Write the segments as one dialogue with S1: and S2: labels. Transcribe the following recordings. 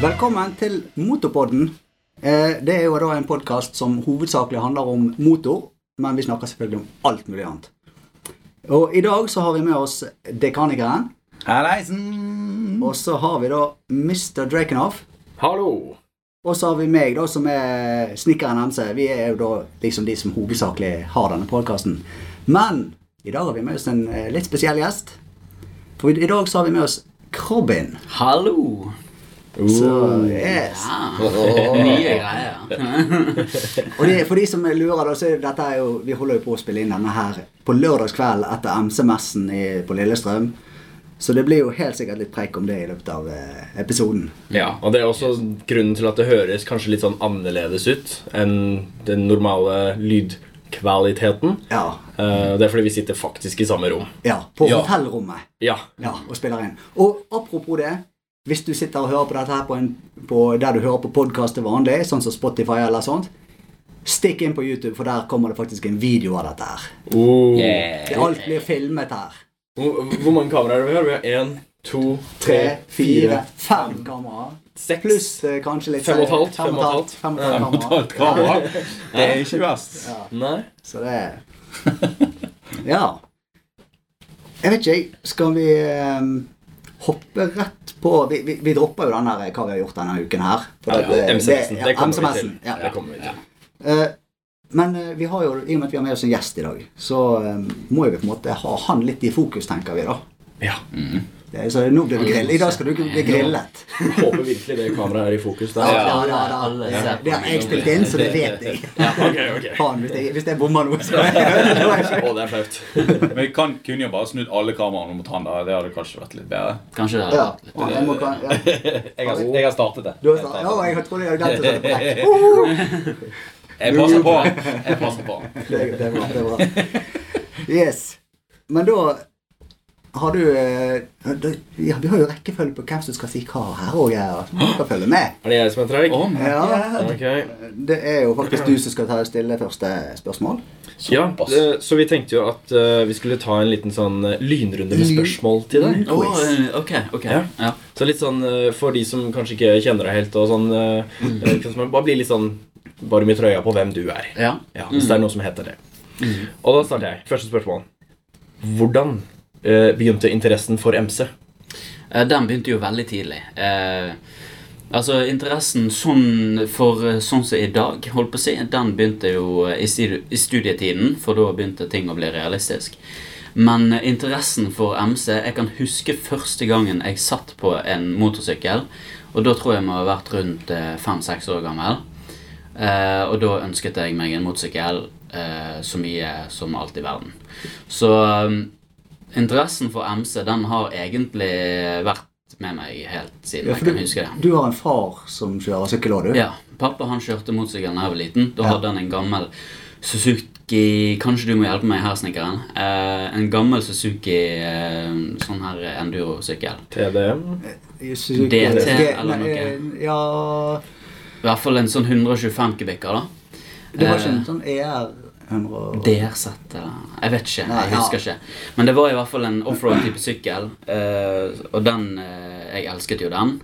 S1: Velkommen til Motorpodden. Eh, Det er jo da en podkast som hovedsakelig handler om motor, men vi snakker selvfølgelig om alt mulig annet. Og i dag så har vi med oss dekanikeren,
S2: Halleisen!
S1: og så har vi da Mr. Drakenhoff,
S3: Hallo!
S1: og så har vi meg da som er snekkeren MC. Vi er jo da liksom de som hovedsakelig har denne podkasten. Men i dag har vi med oss en eh, litt spesiell gjest. For i dag så har vi med oss Krobin.
S2: Hallo!
S1: Så yes.
S2: Nye greier.
S1: Og det, for de som lurer, da, så er dette er jo, vi holder jo på å spille inn denne her på lørdagskveld etter MC-messen i- på Lillestrøm. Så det blir jo helt sikkert litt preik om det i løpet av eh, episoden.
S3: Ja, og det er også grunnen til at det høres kanskje litt sånn annerledes ut enn den normale lydkvaliteten.
S1: Ja.
S3: Eh, det er fordi vi sitter faktisk i samme rom.
S1: ja på
S3: Ja.
S1: hotellrommet.
S3: Ja.
S1: Ja, og spiller inn. Og apropos det, hvis du sitter og hører på dette her på en, på, der du hører på podkast til vanlig, sånn som Spotify eller sånt, stikk inn på YouTube, for der kommer det faktisk en video av dette her.
S3: Oh.
S1: Det- Alt blir filmet her.
S3: Hvor, hvor mange kameraer har vi her? Vi har én, to,
S1: Tre, fire, fem kameraer.
S3: seks
S1: Pluss eh, kanskje litt
S3: Fem og et halvt,
S1: Fem og et halvt. Fem og et halvt kamera.
S2: Det er ikke verst.
S3: Nei.
S1: Så det Ja. Jeg vet ikke, jeg. Skal vi ehm, hoppe rett på Vi, vi, vi dropper jo den der eh, hva vi har gjort denne uken her. For
S3: Ja,
S1: dette-
S3: MC-en.
S1: ja,
S3: Det kommer vi til.
S1: MC-messen, Ja.
S3: Det kommer vi til.
S1: Eh, men eh, vi har jo, i og med at vi har med oss en gjest i dag, så ehm, må jo vi på en måte ha han litt i fokus, tenker vi da.
S3: Ja.
S1: Det, er- så nå blir du grillet. I dag skal du bli grillet.
S3: Jeg håper virkelig det kameraet er i fokus der.
S1: Ja, ja, ja,
S2: alle
S1: ja.
S2: ser på
S1: Det har jeg
S2: meg.
S1: spilt inn, så det vet jeg.
S3: Ok, ok.
S1: Faen, hvis jeg, hvis jeg bommer noe, så Nå er jeg
S3: Å, det er flaut.
S4: Men jeg kan, kunne jo bare snudd alle kameraene mot han. da Det hadde kanskje vært litt bedre.
S2: Kanskje det
S1: Ja.
S2: hadde vært litt
S1: Å, jeg må kan, ja.
S4: Jeg har, jeg har startet det.
S1: Du har sagt, ja, jeg trodde jeg hadde glemt å sette på rekk.
S4: Jeg passer på. Jeg passer på.
S1: Det, det er bra. det er bra. Yes. Men da har du eh, da, ja, Vi har jo rekkefølge på hvem som skal si hva her òg. Du skal følge med.
S3: Er det jeg som er treig?
S4: Om.
S1: Ja,
S3: Ok.
S1: det er jo faktisk du som skal ta stille første spørsmål.
S3: Ja, eh, så vi tenkte jo at eh, vi skulle ta en liten sånn eh, lynrunde med spørsmål til deg.
S1: Mm.
S2: Å, eh, ok, ok.
S3: Ja.
S2: Ja.
S3: Så litt sånn eh, for de som kanskje ikke kjenner deg helt og sånn eh,
S2: Mm.
S3: eh, kan man Bare bli litt sånn varm i trøya på hvem du er.
S2: ja. Mm.
S3: Ja, Hvis det er noe som heter det. Og da starter jeg. Første spørsmål. Hvordan eh, begynte interessen for MC?
S2: Eh, Den begynte jo veldig tidlig. Eh, altså, interessen sånn for eh, sånn som i dag, holdt på å si, den begynte jo eh, i stu- i studietiden, for da begynte ting å bli realistisk. Men eh, interessen for MC Jeg kan huske første gangen jeg satt på en motorsykkel. Og da tror jeg må ha vært rundt eh, fem-seks år gammel. Eh, og da ønsket jeg meg en motorsykkel eh, så mye som alt i verden. Så eh, interessen for MC den har egentlig vært med meg helt siden
S1: Ja,
S2: jeg
S1: for
S2: kan huske det.
S1: Du har en far som kjører sykkel òg, du?
S2: Ja, Pappa han kjørte motorsykkel da jeg var liten. Da
S1: Ja.
S2: hadde han en gammel Suzuki Kanskje du må hjelpe meg her, snekkeren. Eh, en gammel Suzuki eh, sånn her enduro-sykkel.
S3: TDM?
S1: Sykkel-
S2: DT
S1: G-
S2: eller
S1: nei, eh,
S2: noe?
S1: Ja
S2: I hvert fall en sånn 125 kubikker, da.
S1: Det var ikke
S2: Eh,
S1: en sånn ER 100
S2: DRZ eller Jeg vet ikke.
S1: Nei,
S2: Jeg
S1: ja.
S2: husker ikke. Men det var i hvert fall en offroad-type sykkel, eh, og den eh, Jeg elsket jo den.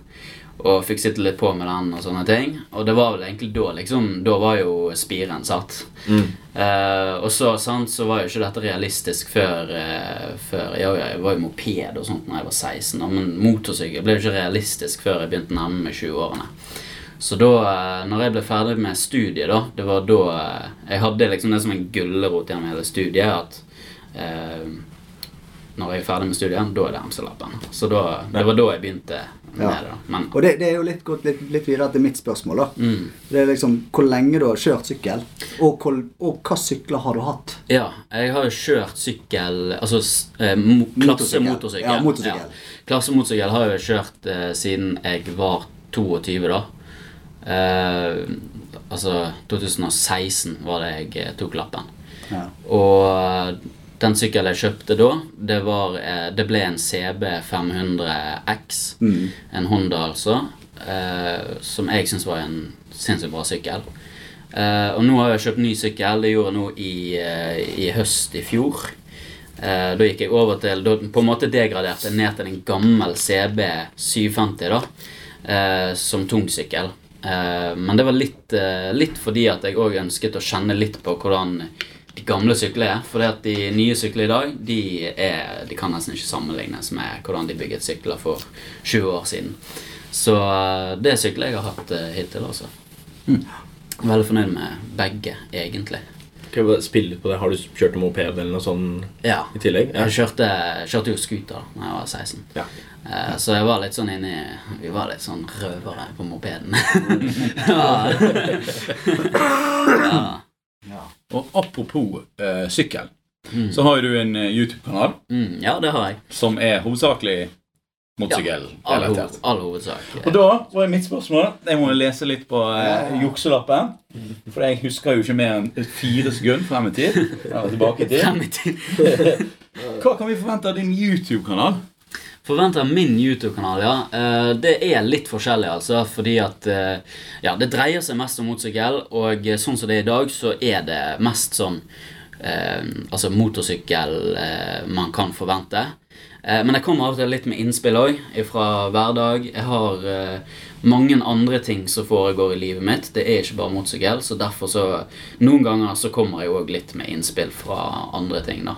S2: Og fikk sitte litt på med den og sånne ting. Og det var vel egentlig da liksom Da var jo spiren satt.
S1: Mm.
S2: Eh, og så, sant, så var jo ikke dette realistisk før, eh, før jeg, jeg var jo moped og sånt da jeg var 16, og, men motorsykkel ble jo ikke realistisk før jeg begynte å nærme meg 20-årene. Så da eh, når jeg ble ferdig med studiet, da Det var da eh, Jeg hadde liksom det som en gulrot gjennom hele studiet at eh, når jeg er ferdig med studiet, da er det MC-lappen. Så da, det var da jeg begynte med
S1: Ja.
S2: det. da. Men
S1: Og det, det er jo litt, gått litt, litt videre til mitt spørsmål. da.
S2: Mm.
S1: Det er liksom hvor lenge du har kjørt sykkel, og, hvor, og hva sykler har du hatt?
S2: Ja, jeg har jo kjørt sykkel Altså s- eh, mo klasse
S1: Motorsykkel.
S2: motorsykkel.
S1: Ja, motorsykkel.
S2: Klasse motorsykkel har jeg jo kjørt eh, siden jeg var 22, da. Eh, altså 2016 var det jeg eh, tok lappen.
S1: Ja.
S2: Og eh, den sykkelen jeg kjøpte da, det, var, eh, det ble en CB 500X. En Honda, altså. Eh, som jeg syns var en sinnssykt bra sykkel. Eh, og nå har jeg kjøpt ny sykkel. Det gjorde jeg nå i, eh, i høst i fjor. Eh, da gikk jeg over til Da på en måte degraderte jeg ned til en gammel CB 750, da. eh, som tungsykkel. Eh, men det var litt, eh, litt fordi at jeg òg ønsket å kjenne litt på hvordan de gamle syklene er. For det at de nye syklene i dag de, er, de kan nesten ikke sammenlignes med hvordan de bygget sykler for 20 år siden. Så eh, det er sykler jeg har hatt eh, hittil, altså. Veldig fornøyd med begge, egentlig.
S3: Kan jeg bare spille litt på det? Har du kjørt en moped eller noe sånt
S2: Ja.
S3: i tillegg?
S2: Jeg kjørte, kjørte jo scooter da når jeg var 16.
S3: Ja.
S2: Eh, Så jeg var litt sånn inni Vi var litt sånn røvere på mopeden. ja. ja.
S4: Og apropos eh, sykkel, så har jo du en eh, YouTube-kanal
S2: Mm, ja, det har jeg.
S4: som er hovedsakelig
S2: All, ho
S4: motorsykkelrelatert.
S2: all hovedsak.
S4: Og da var mitt spørsmål Jeg må lese litt på eh, jukselappen. For jeg husker jo ikke mer enn fire sekunder frem i tid. Eller tilbake i tid.
S2: Frem i tid.
S4: Hva kan vi forvente av din YouTube-kanal?
S2: Forventer min YouTube-kanal, ja. Eh, Det er litt forskjellig, altså. Fordi at eh, Ja, det dreier seg mest om motorsykkel, og eh, sånn som det er i dag, så er det mest sånn eh, Altså motorsykkel eh, man kan forvente. Eh, men jeg kommer av og til litt med innspill òg, fra hverdag. Jeg har eh, mange andre ting som foregår i livet mitt. Det er ikke bare motorsykkel, så derfor så Noen ganger så kommer jeg òg litt med innspill fra andre ting, da.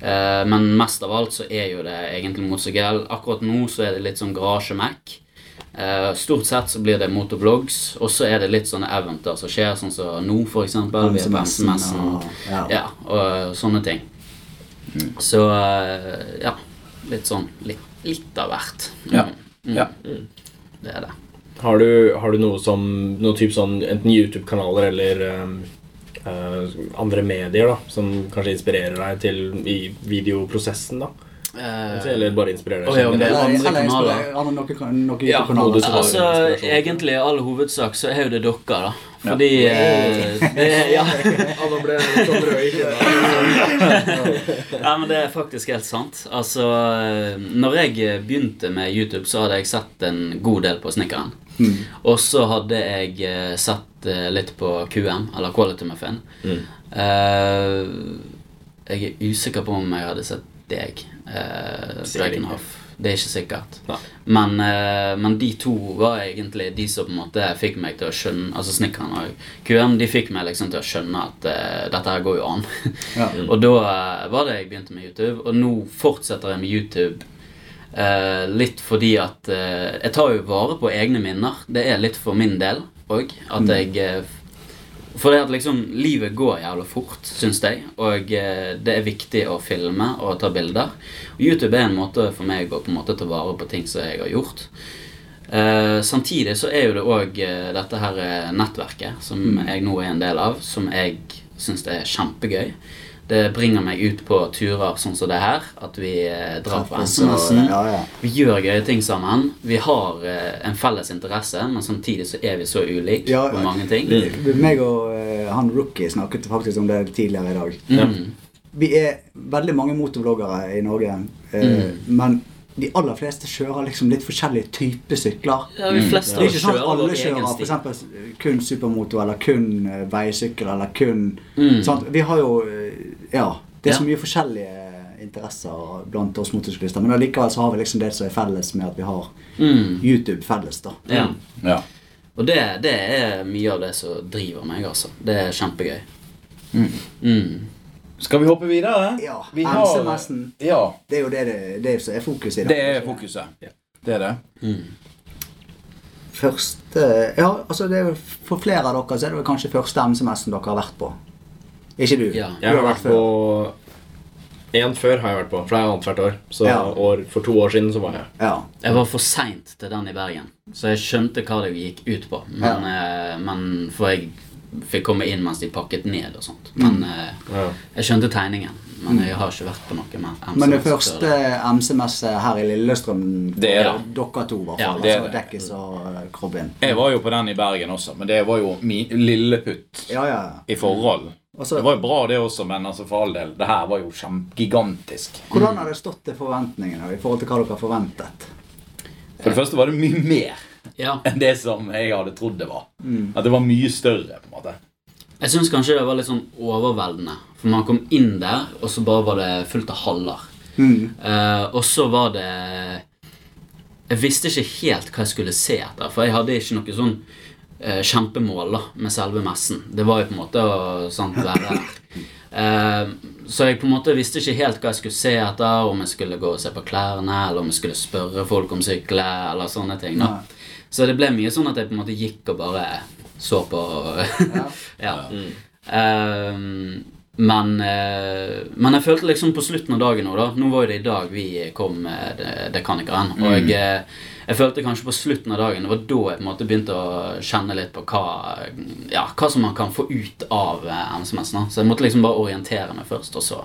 S2: Eh, men mest av alt så er jo det egentlig motorsykkel. Akkurat nå så er det litt sånn garasje-Mac. Eh, stort sett så blir det motorblogs, og så er det litt sånne eventer som skjer, sånn som nå, for eksempel. Vi er på
S1: Hamsemessen
S2: Hamsemessen.
S1: og- ja.
S2: Ja, og sånne ting. Så eh, ja. Litt sånn litt, litt av hvert.
S4: Ja.
S2: Mm,
S4: Ja.
S2: Det er det.
S3: Har du, har du noe som noe typ sånn, Enten YouTube-kanaler eller ehm, eh, andre medier da som kanskje inspirerer deg til i videoprosessen? da
S2: Eh,
S3: Eller bare inspirerer
S2: Å, ja,
S3: deg?
S2: men det-
S3: generelt?
S1: Eller,
S2: andre
S1: eller
S2: kanaler.
S1: jeg spør- har du noen, noen
S3: Ja,
S1: YouTube-kanaler?
S3: noe du-
S2: altså,
S3: inspirasjon.
S2: egentlig i all hovedsak så er jo det dere, da. Fordi eh, det, ja.
S3: Ja, nå ble jeg sånn rød i kinnet.
S2: Nei, men Det er faktisk helt sant. Altså, eh, når jeg begynte med YouTube, så hadde jeg sett en god del på Snikkeren.
S3: Mm.
S2: Og så hadde jeg eh, sett eh, litt på QM, eller Quality Muffin.
S3: Mm.
S2: Eh, jeg er usikker på om jeg hadde sett deg,
S3: Sikkert
S2: uh,
S3: ikke.
S2: Dragonhoff. Det er ikke sikkert.
S3: Nei.
S2: Men, eh, men de to var egentlig de som på en måte fikk meg til å skjønne Altså Snikkeren og QM de fikk meg liksom til å skjønne at eh, dette her går jo an.
S1: Ja.
S2: Og da eh, var det jeg begynte med YouTube, og nå fortsetter jeg med YouTube. eh, litt fordi at eh, jeg tar jo vare på egne minner. Det er litt for min del òg. At jeg eh, For det at liksom livet går jævla fort, syns jeg. Og eh, det er viktig å filme og ta bilder. Og YouTube er en måte for meg å på en måte ta vare på ting som jeg har gjort. Eh, samtidig så er jo det òg eh, dette her eh, nettverket som
S1: Mm.
S2: jeg nå er en del av, som jeg syns er kjempegøy. Det bringer meg ut på turer sånn som det her. At vi eh, drar på SMS-en.
S1: Ja, ja.
S2: Vi gjør gøye ting sammen. Vi har eh, en felles interesse, men samtidig så er vi så ulike
S1: Ja,
S2: på mange ting.
S1: Meg og eh, han rookie snakket faktisk om det tidligere i dag.
S2: Mm.
S1: Vi er veldig mange motorvloggere i Norge, eh,
S2: Mm.
S1: men de aller fleste kjører liksom litt forskjellige typer sykler.
S2: Ja, vi fleste
S1: Det er
S2: av
S1: ikke
S2: oss
S1: sånn
S2: kjører
S1: at alle
S2: vår
S1: kjører
S2: egen
S1: for
S2: stil.
S1: eksempel eh, kun supermotor eller kun eh, veisykkel eller kun
S2: Mm.
S1: sant? Vi har jo eh, Ja. Det er så
S2: Ja.
S1: mye forskjellige interesser blant oss motorsyklister, men allikevel så har vi liksom det som er felles med at vi har
S2: Mm.
S1: YouTube felles, da.
S2: Ja.
S4: Ja.
S2: Mm. Og det, det er mye av det som driver meg, altså. Det er kjempegøy. Mm.
S4: Skal vi hoppe videre?
S1: Ja,
S4: Vi har-
S1: SMS-en.
S4: Ja,
S1: Det er jo det det, det er jo som er fokuset i dag.
S4: det er fokuset. Det er det.
S1: Første Ja, altså det er, jo- for flere av dere så er det vel kanskje første MCMS-en dere har vært på. Ikke du?
S2: Ja.
S1: Du
S3: Jeg har vært på
S1: før.
S3: En før har jeg vært på, for det er annethvert år. Så
S1: Ja.
S3: år, for to år siden så var jeg
S1: Ja.
S2: Jeg var for seint til den i Bergen, så jeg skjønte hva det gikk ut på. Men, eh, men For jeg fikk komme inn mens de pakket ned og sånt. Men eh,
S3: ja.
S2: jeg skjønte tegningen. Men jeg har ikke vært på noe mer. enn
S1: Men det
S2: som
S1: første MCMS-et her i Lillestrøm
S4: Det er det.
S1: Dere to, i hvert
S2: Ja,
S1: fall.
S4: det er
S1: altså
S4: det.
S1: Dekkis og eh, Krobben.
S4: Jeg var jo på den i Bergen også, men det var jo min lilleputt
S1: Ja, Altså, ja.
S4: i forhold.
S1: Og så-
S4: det var jo bra, det også, men altså for all del, det her var jo kjem- gigantisk.
S1: Hvordan har det stått til forventningene i forhold til hva dere forventet?
S4: For det første var det mye mer
S2: Ja.
S4: enn det som jeg hadde trodd det var. At det var mye større, på en måte.
S2: Jeg syns kanskje det var litt sånn overveldende. For man kom inn der, og så bare var det fullt av haller. Eh, og så var det Jeg visste ikke helt hva jeg skulle se etter, for jeg hadde ikke noe sånn eh, kjempemål da, med selve messen. Det var jo på en måte å sant, være der. Eh, så jeg på en måte visste ikke helt hva jeg skulle se etter, om jeg skulle gå og se på klærne, eller om jeg skulle spørre folk om sykler, eller sånne ting. da.
S1: Nei.
S2: Så det ble mye sånn at jeg på en måte gikk og bare så på.
S1: Ja.
S2: ja. Ehm, men, eh, men jeg følte liksom på slutten av dagen nå, da Nå var jo det i dag vi kom med eh, Dekanikeren. Og eh, jeg følte kanskje på slutten av dagen Det var da jeg på en måte begynte å kjenne litt på hva, ja, hva som man kan få ut av eh, MCMS. Da. Så jeg måtte liksom bare orientere meg først, og så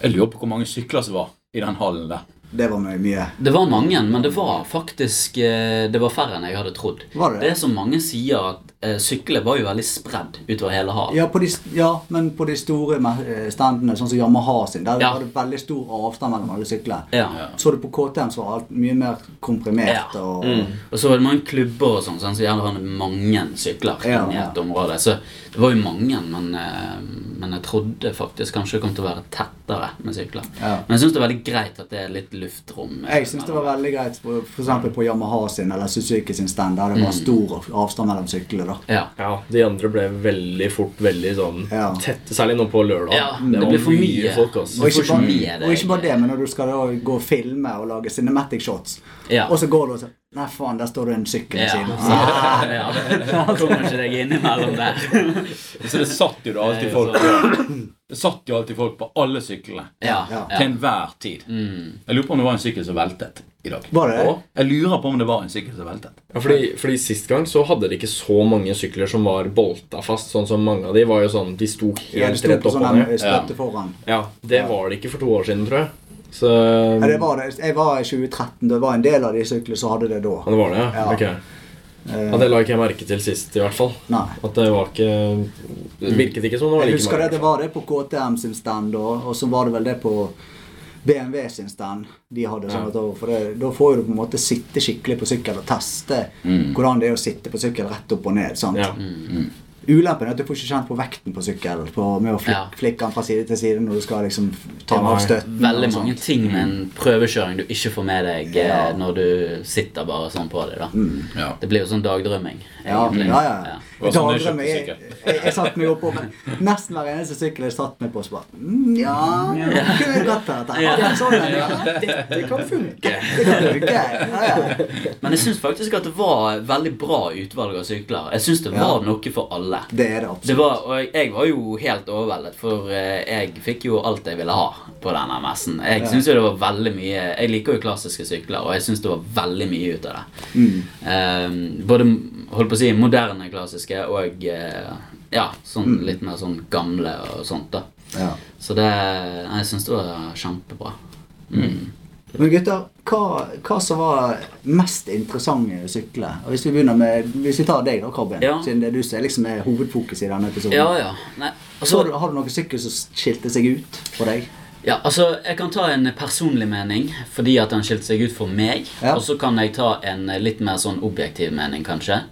S4: Jeg lurer på hvor mange sykler som var i den hallen der.
S1: Det var mye. mye.
S2: Det var mange, men det var faktisk eh, Det var færre enn jeg hadde trodd.
S1: Var det det?
S2: det er som mange sier, at eh, sykler var jo veldig spredd utover hele havet.
S1: Ja, på de, st- ja, men på de store me- eh, standene, sånn som Yamaha sin, der
S2: Ja.
S1: var det veldig stor avstand mellom alle syklene.
S2: Ja.
S1: Så du på KTM, så var alt mye mer komprimert.
S2: Ja.
S1: Og,
S4: Mm.
S2: Og så var det mange klubber og sånn, sånn, så gjerne var det mange sykler
S1: Ja,
S2: i
S1: ja.
S2: et område. Så det var jo mange, men, eh, men jeg trodde faktisk kanskje det kom til å være tettere med sykler.
S1: Ja.
S2: Men jeg syns det er veldig greit at det er litt luftrom. eh,
S1: Jeg syns det var veldig greit for, for eksempel på Yamaha sin eller Suzuki sin stand, der det
S2: Mm.
S1: var stor avstand mellom syklene. da.
S2: ja.
S3: Ja, de andre ble veldig fort veldig sånn
S1: Ja.
S3: tette, særlig nå på lørdag.
S2: Ja, det ble for mye.
S3: folk, ass.
S2: Du
S1: Og ikke,
S2: får ikke med
S1: bare,
S2: deg.
S1: og ikke bare det, men når du skal da gå og filme og lage cinematic shots,
S2: Ja.
S1: og så går du og sier Nei, faen, der står det en sykkel ved
S2: Ja,
S1: siden
S2: så,
S1: av.
S2: ja. Kommer ikke deg innimellom der.
S4: Så det satt jo da alltid folk på, Det sånn- satt jo alltid folk på alle syklene.
S2: Ja,
S1: Ja.
S2: ja.
S4: Til enhver tid. Jeg lurer på om det var en sykkel som veltet i dag.
S1: Var det det?
S4: Og Jeg lurer på om det var en sykkel som veltet.
S3: Ja, fordi, fordi Sist gang så hadde de ikke så mange sykler som var bolta fast. Sånn som mange av de var jo sånn, De sto
S1: Ja, det
S3: helt
S1: sto
S3: rett
S1: på
S3: opp
S1: sånn
S3: av
S1: en
S3: ned.
S1: støtte foran.
S3: Ja, Det var det ikke for to år siden, tror jeg. Så
S1: Ja, det var det. Jeg var i 2013. Det var en del av de syklene som hadde det da.
S3: Ja, det var det, ja.
S1: Ja.
S3: Ok. Ja, Det la ikke jeg merke til sist, i hvert fall.
S1: Nei.
S3: At det var ikke Det virket ikke som det var
S1: Jeg
S3: like
S1: husker det,
S3: mange.
S1: det var det på KTM sin stand, og, og så var det vel det på BMW sin stand. De hadde sånn at, da- for det, Da får jo du på en måte sitte skikkelig på sykkel og teste hvordan det er å sitte på sykkel rett opp og ned. sant?
S3: Mm. Ja.
S1: Ulempen er at du får ikke kjent på vekten på sykkel på, med å flik,
S2: Ja.
S1: flikke den fra side til side når du skal liksom ta
S3: Ja,
S1: av støtten.
S2: Veldig
S1: og sånn. sånt. Mm.
S2: mange ting med en prøvekjøring du ikke får med deg eh, når du sitter bare sånn på det. da.
S4: Ja.
S2: Det blir jo sånn dagdrømming.
S1: Mm. Ja,
S2: egentlig.
S1: ja, Mm. ja.
S4: Og sånn er
S1: Dagdrømme, jeg,
S4: kjøpte
S1: jeg, jeg satt meg opp på nesten hver eneste sykkel jeg satt meg på. Så bare, mm, ja, kunne jeg gått til dette? Ja, sånn er det. Ja, dette kan funke. Det kan funke. Ja, ja.
S2: Men jeg syns faktisk at det var veldig bra utvalg av sykler. Jeg syns det var noe for alle.
S1: Det er det
S2: Det
S1: absolutt.
S2: var, og jeg- jeg var jo helt overveldet, for eh, jeg fikk jo alt jeg ville ha på denne messen. Jeg synes jo det var veldig mye Jeg liker jo klassiske sykler, og jeg syns det var veldig mye ut av det. Eh, både holdt på å si moderne klassiske og eh, ja, sånn, litt mer sånn gamle og sånt. da
S1: Ja.
S2: Så det Jeg syns det var kjempebra.
S1: Men gutter, hva, hva som var mest interessante sykler? Og hvis vi begynner med, hvis vi tar deg da, Robin,
S2: Ja.
S1: siden det er du som er liksom er hovedfokus i denne episoden.
S2: Ja, ja. Nei,
S1: Så
S2: altså,
S1: har du, har du noen sykkel som skilte seg ut for deg?
S2: Ja, altså, Jeg kan ta en personlig mening fordi at den skilte seg ut for meg.
S1: Ja.
S2: Og så kan jeg ta en litt mer sånn objektiv mening, kanskje.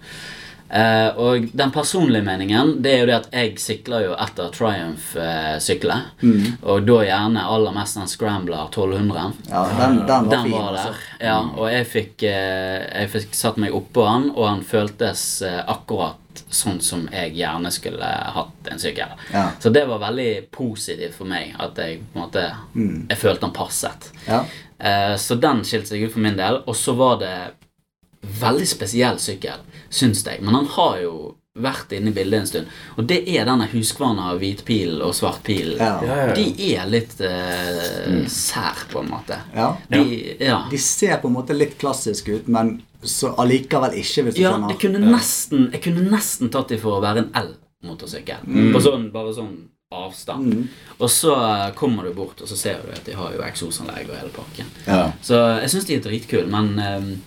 S2: Eh, og den personlige meningen det er jo det at jeg sykler jo etter Triumph-sykler.
S1: Mm.
S2: Og da gjerne aller mest den Scrambler 1200.
S1: Ja, den, den var
S2: Den
S1: fin.
S2: var
S1: altså.
S2: der, ja. Og jeg fikk, eh, jeg fikk satt meg oppå han, og han føltes eh, akkurat sånn som jeg gjerne skulle hatt en sykkel.
S1: Ja.
S2: Så det var veldig positivt for meg at jeg på en måte
S1: Mm.
S2: Jeg følte han passet.
S1: Ja.
S2: Eh, så den skilte seg ut for min del. Og så var det veldig spesiell sykkel, syns jeg. Men han har jo vært inne i bildet en stund. Og det er denne Husqvarna hvit pil og svart pil.
S1: Ja.
S3: Ja, ja, ja.
S2: De er litt eh, sær, på en måte.
S1: Ja.
S2: De, ja.
S1: De ser på en måte litt klassiske ut, men så allikevel ikke, hvis du
S2: ja, jeg
S1: skjønner.
S2: kunne, nesten, jeg kunne nesten tatt dem for å være en elmotorsykkel.
S1: Mm.
S2: På sånn, bare sånn avstand. Og så eh, kommer du bort, og så ser du at de har jo eksosanlegg og hele pakken.
S1: Ja.
S2: Så jeg syns de er dritkule, men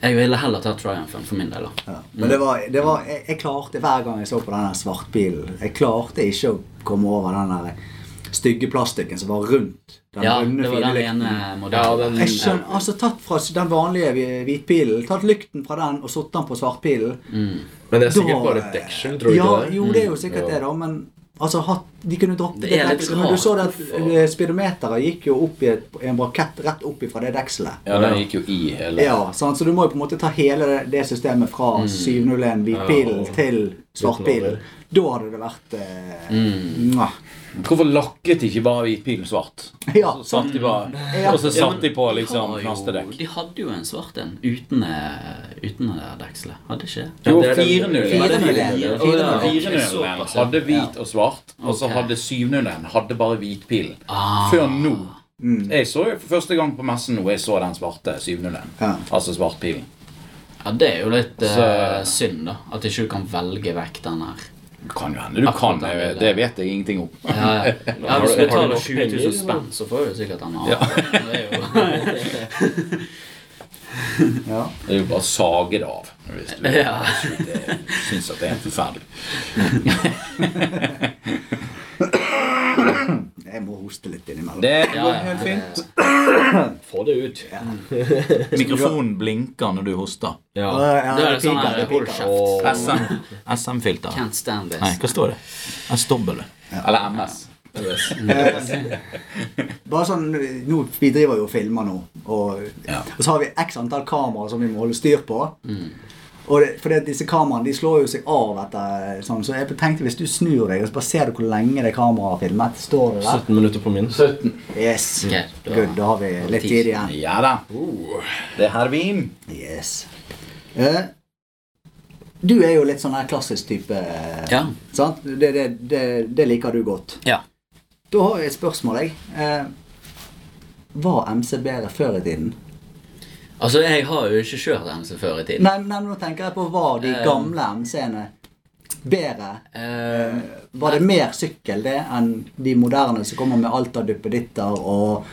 S2: eh, jeg ville heller tatt Triumphen for min del. da.
S1: Ja. Men det var, det var jeg, jeg klarte hver gang jeg så på denne svartbilen Jeg klarte ikke å komme over den der stygge plastikken som var rundt. Den
S2: Ja,
S1: runde,
S2: det var
S1: fine
S2: den
S1: lykten.
S2: ene
S3: Ja,
S2: modellen.
S3: den,
S1: Jeg skjønner, altså Tatt fra den vanlige hvi- hvitbilen, tatt lykten fra den og satt den på svartbilen
S2: Mm.
S3: men det er sikkert
S1: da-
S3: bare et deksel, tror du
S1: ja,
S3: ikke det?
S1: Jo, det er jo sikkert
S3: Jo.
S1: det, da, men Altså, hatt, de kunne droppet
S2: Det er litt
S1: dekselet. Men Du så det at
S2: rart.
S1: eh, speedometeret gikk jo opp i et, en brakett rett opp ifra det dekselet.
S4: Ja, den gikk jo i hele
S1: Ja, sant? Så du må jo på en måte ta hele det, det systemet fra 701 hvitpilen
S3: Mm. Ja, og
S1: til svartpilen.
S3: utover.
S1: Da hadde det vært eh,
S3: Mm.
S1: mwah.
S4: Hvorfor lakket de ikke bare hvitpilen svart?
S1: Ja.
S4: Så satt de bare,
S1: Ja.
S4: Og så
S2: Ja,
S4: satt
S2: men
S4: de på
S2: de
S4: liksom
S2: har jo-
S4: knastedekk.
S2: De hadde jo en svart en uten, eh, uten det der dekselet. Hadde ikke det?
S4: Jo,
S3: det er den-
S4: 4-0.
S1: Fire-
S4: Var det
S1: 4-0.
S4: 4-0?
S1: Å, ja,
S4: 4-0
S2: såpass, ja.
S4: hadde hvit og svart, og så
S2: Ok.
S4: hadde 7-0-en hadde bare hvitpilen.
S2: Ah.
S4: Før nå.
S1: Mm.
S4: Jeg så jo for første gang på messen nå jeg så den svarte 7-0-en.
S1: Ja.
S4: Altså svartpilen.
S2: Ja, det er jo litt eh,
S4: Så-
S2: synd, da. At ikke du kan velge vekk den her.
S4: Det kan jo hende du kan, jeg, det vet jeg ingenting om.
S2: Ja, ja. ja
S3: Har
S2: Hvis
S3: du-
S2: du
S3: har du
S2: betaler
S3: nok
S2: 20 000
S3: penger,
S2: spenn, så får du sikkert en annen.
S4: Ja.
S2: Det er jo
S1: Ja.
S4: Det er jo bare å sage det av. Hvis du
S2: Ja.
S4: syns at det er helt forferdelig.
S1: Jeg må hoste litt innimellom.
S4: Det går
S2: ja,
S4: helt fint.
S3: Få det ut.
S4: Mikrofonen blinker når du hoster.
S3: Ja.
S1: Ja, ja,
S2: Det er
S1: det
S2: litt sånn
S1: piker,
S2: her
S1: det
S2: Hold
S1: piker.
S2: kjeft.
S4: SM. SM-filter.
S2: Can't stand this.
S4: Nei, hva står det? SW. Eller MS.
S1: Mm. Bare sånn, nå, Vi driver jo og filmer nå, og,
S4: Ja.
S1: og så har vi x antall kameraer som vi må holde styr på. Og det, fordi at disse kameraene de slår jo seg av etter sånn, så jeg tenkte hvis du snur deg og så bare ser du hvor lenge det kameraet har filmet, står det der.
S3: 17 minutter på min.
S4: 17.
S1: Yes.
S2: Ok, da-
S1: Good, da har vi litt
S2: Tid.
S1: tid igjen.
S4: Ja da. Det er hervin.
S1: Yes. Eh, du er jo litt sånn her klassisk type, eh,
S2: Ja.
S1: sant? Det, det, det, det liker du godt.
S2: ja.
S1: Da har jeg et spørsmål, jeg. Eh, var MC bedre før i tiden?
S2: Altså, jeg har jo ikke kjørt MC før i tiden.
S1: Nei, nei, men nå tenker jeg på var de
S2: Eh.
S1: gamle MC-ene bedre?
S2: Eh,
S1: Var det mer sykkel det enn de moderne som kommer med alt av duppeditter og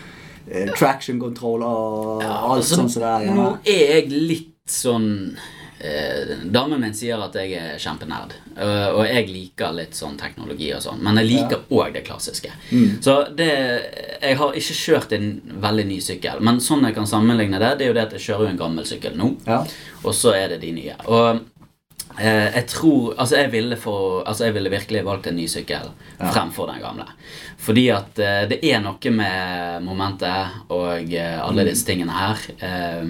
S1: eh, traction control og alt
S2: altså,
S1: sånt som det er
S2: Nå
S1: hjemme?
S2: er jeg litt sånn eh, Damen min sier at jeg er kjempenerd, eh, og jeg liker litt sånn teknologi og sånn, men jeg liker òg det klassiske.
S1: Mm.
S2: Så det Jeg har ikke kjørt en veldig ny sykkel, men sånn jeg kan sammenligne det, det er jo det at jeg kjører jo en gammel sykkel nå,
S1: Ja.
S2: og så er det de nye. Og Eh, jeg tror, altså jeg, ville få, altså jeg ville virkelig valgt en ny sykkel fremfor den gamle. Fordi at eh, det er noe med momentet og eh, alle disse tingene her. Eh,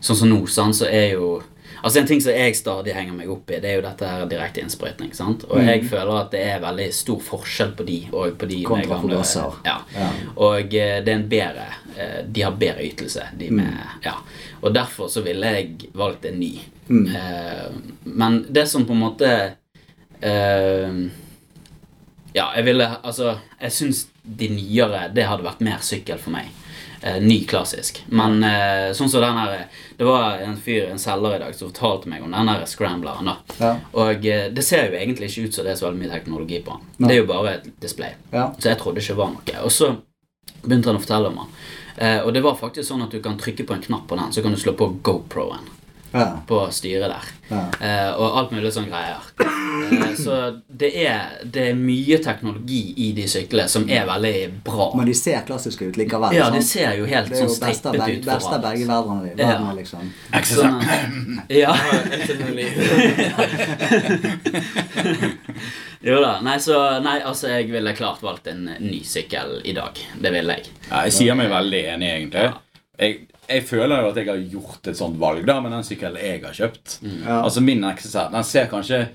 S2: sånn som nå, sant, så er jo Altså En ting som jeg stadig henger meg opp i, det er jo dette her direkte innsprøytning. sant? Og jeg føler at det er veldig stor forskjell på de og på de med
S1: Kontra
S2: gamle.
S1: forgasser.
S2: Ja.
S1: Ja.
S2: Og eh, det er en bedre eh, De har bedre ytelse, de med Ja. Og derfor så ville jeg valgt en ny. Eh, men det som på en måte eh, Ja, jeg ville Altså, jeg syns de nyere Det hadde vært mer sykkel for meg. Eh, ny klassisk. Men eh, sånn som den her Det var en fyr, en selger i dag, som fortalte meg om den her scrambleren. da
S1: Ja.
S2: Og eh, det ser jo egentlig ikke ut som det er så veldig mye teknologi på den. Det er jo bare et display.
S1: Ja.
S2: Så jeg trodde ikke det var noe. Og så begynte han å fortelle om den. Eh, og det var faktisk sånn at du kan trykke på en knapp på den, så kan du slå på GoPro-en
S1: Ja.
S2: på styret der.
S1: Ja.
S2: Eh, og alt mulig sånne greier. Eh, så det er, det er mye teknologi i de syklene som er veldig bra.
S1: Men de ser klassiske ut likevel.
S2: Ja, de
S1: sant?
S2: ser jo helt
S1: det er
S2: sånn
S1: jo best av
S2: strippet
S1: begge,
S2: ut
S1: best av begge
S2: foran.
S1: verdener.
S2: Ja.
S1: verdener liksom.
S2: Sånn at- Ja. Jo da. Nei, så Nei, altså, jeg ville klart valgt en ny sykkel i dag. Det ville jeg.
S4: Ja, jeg sier meg veldig enig, egentlig. Jeg, jeg føler jo at jeg har gjort et sånt valg da, med den sykkelen jeg har kjøpt.
S1: Ja.
S4: Altså Min XSR den ser kanskje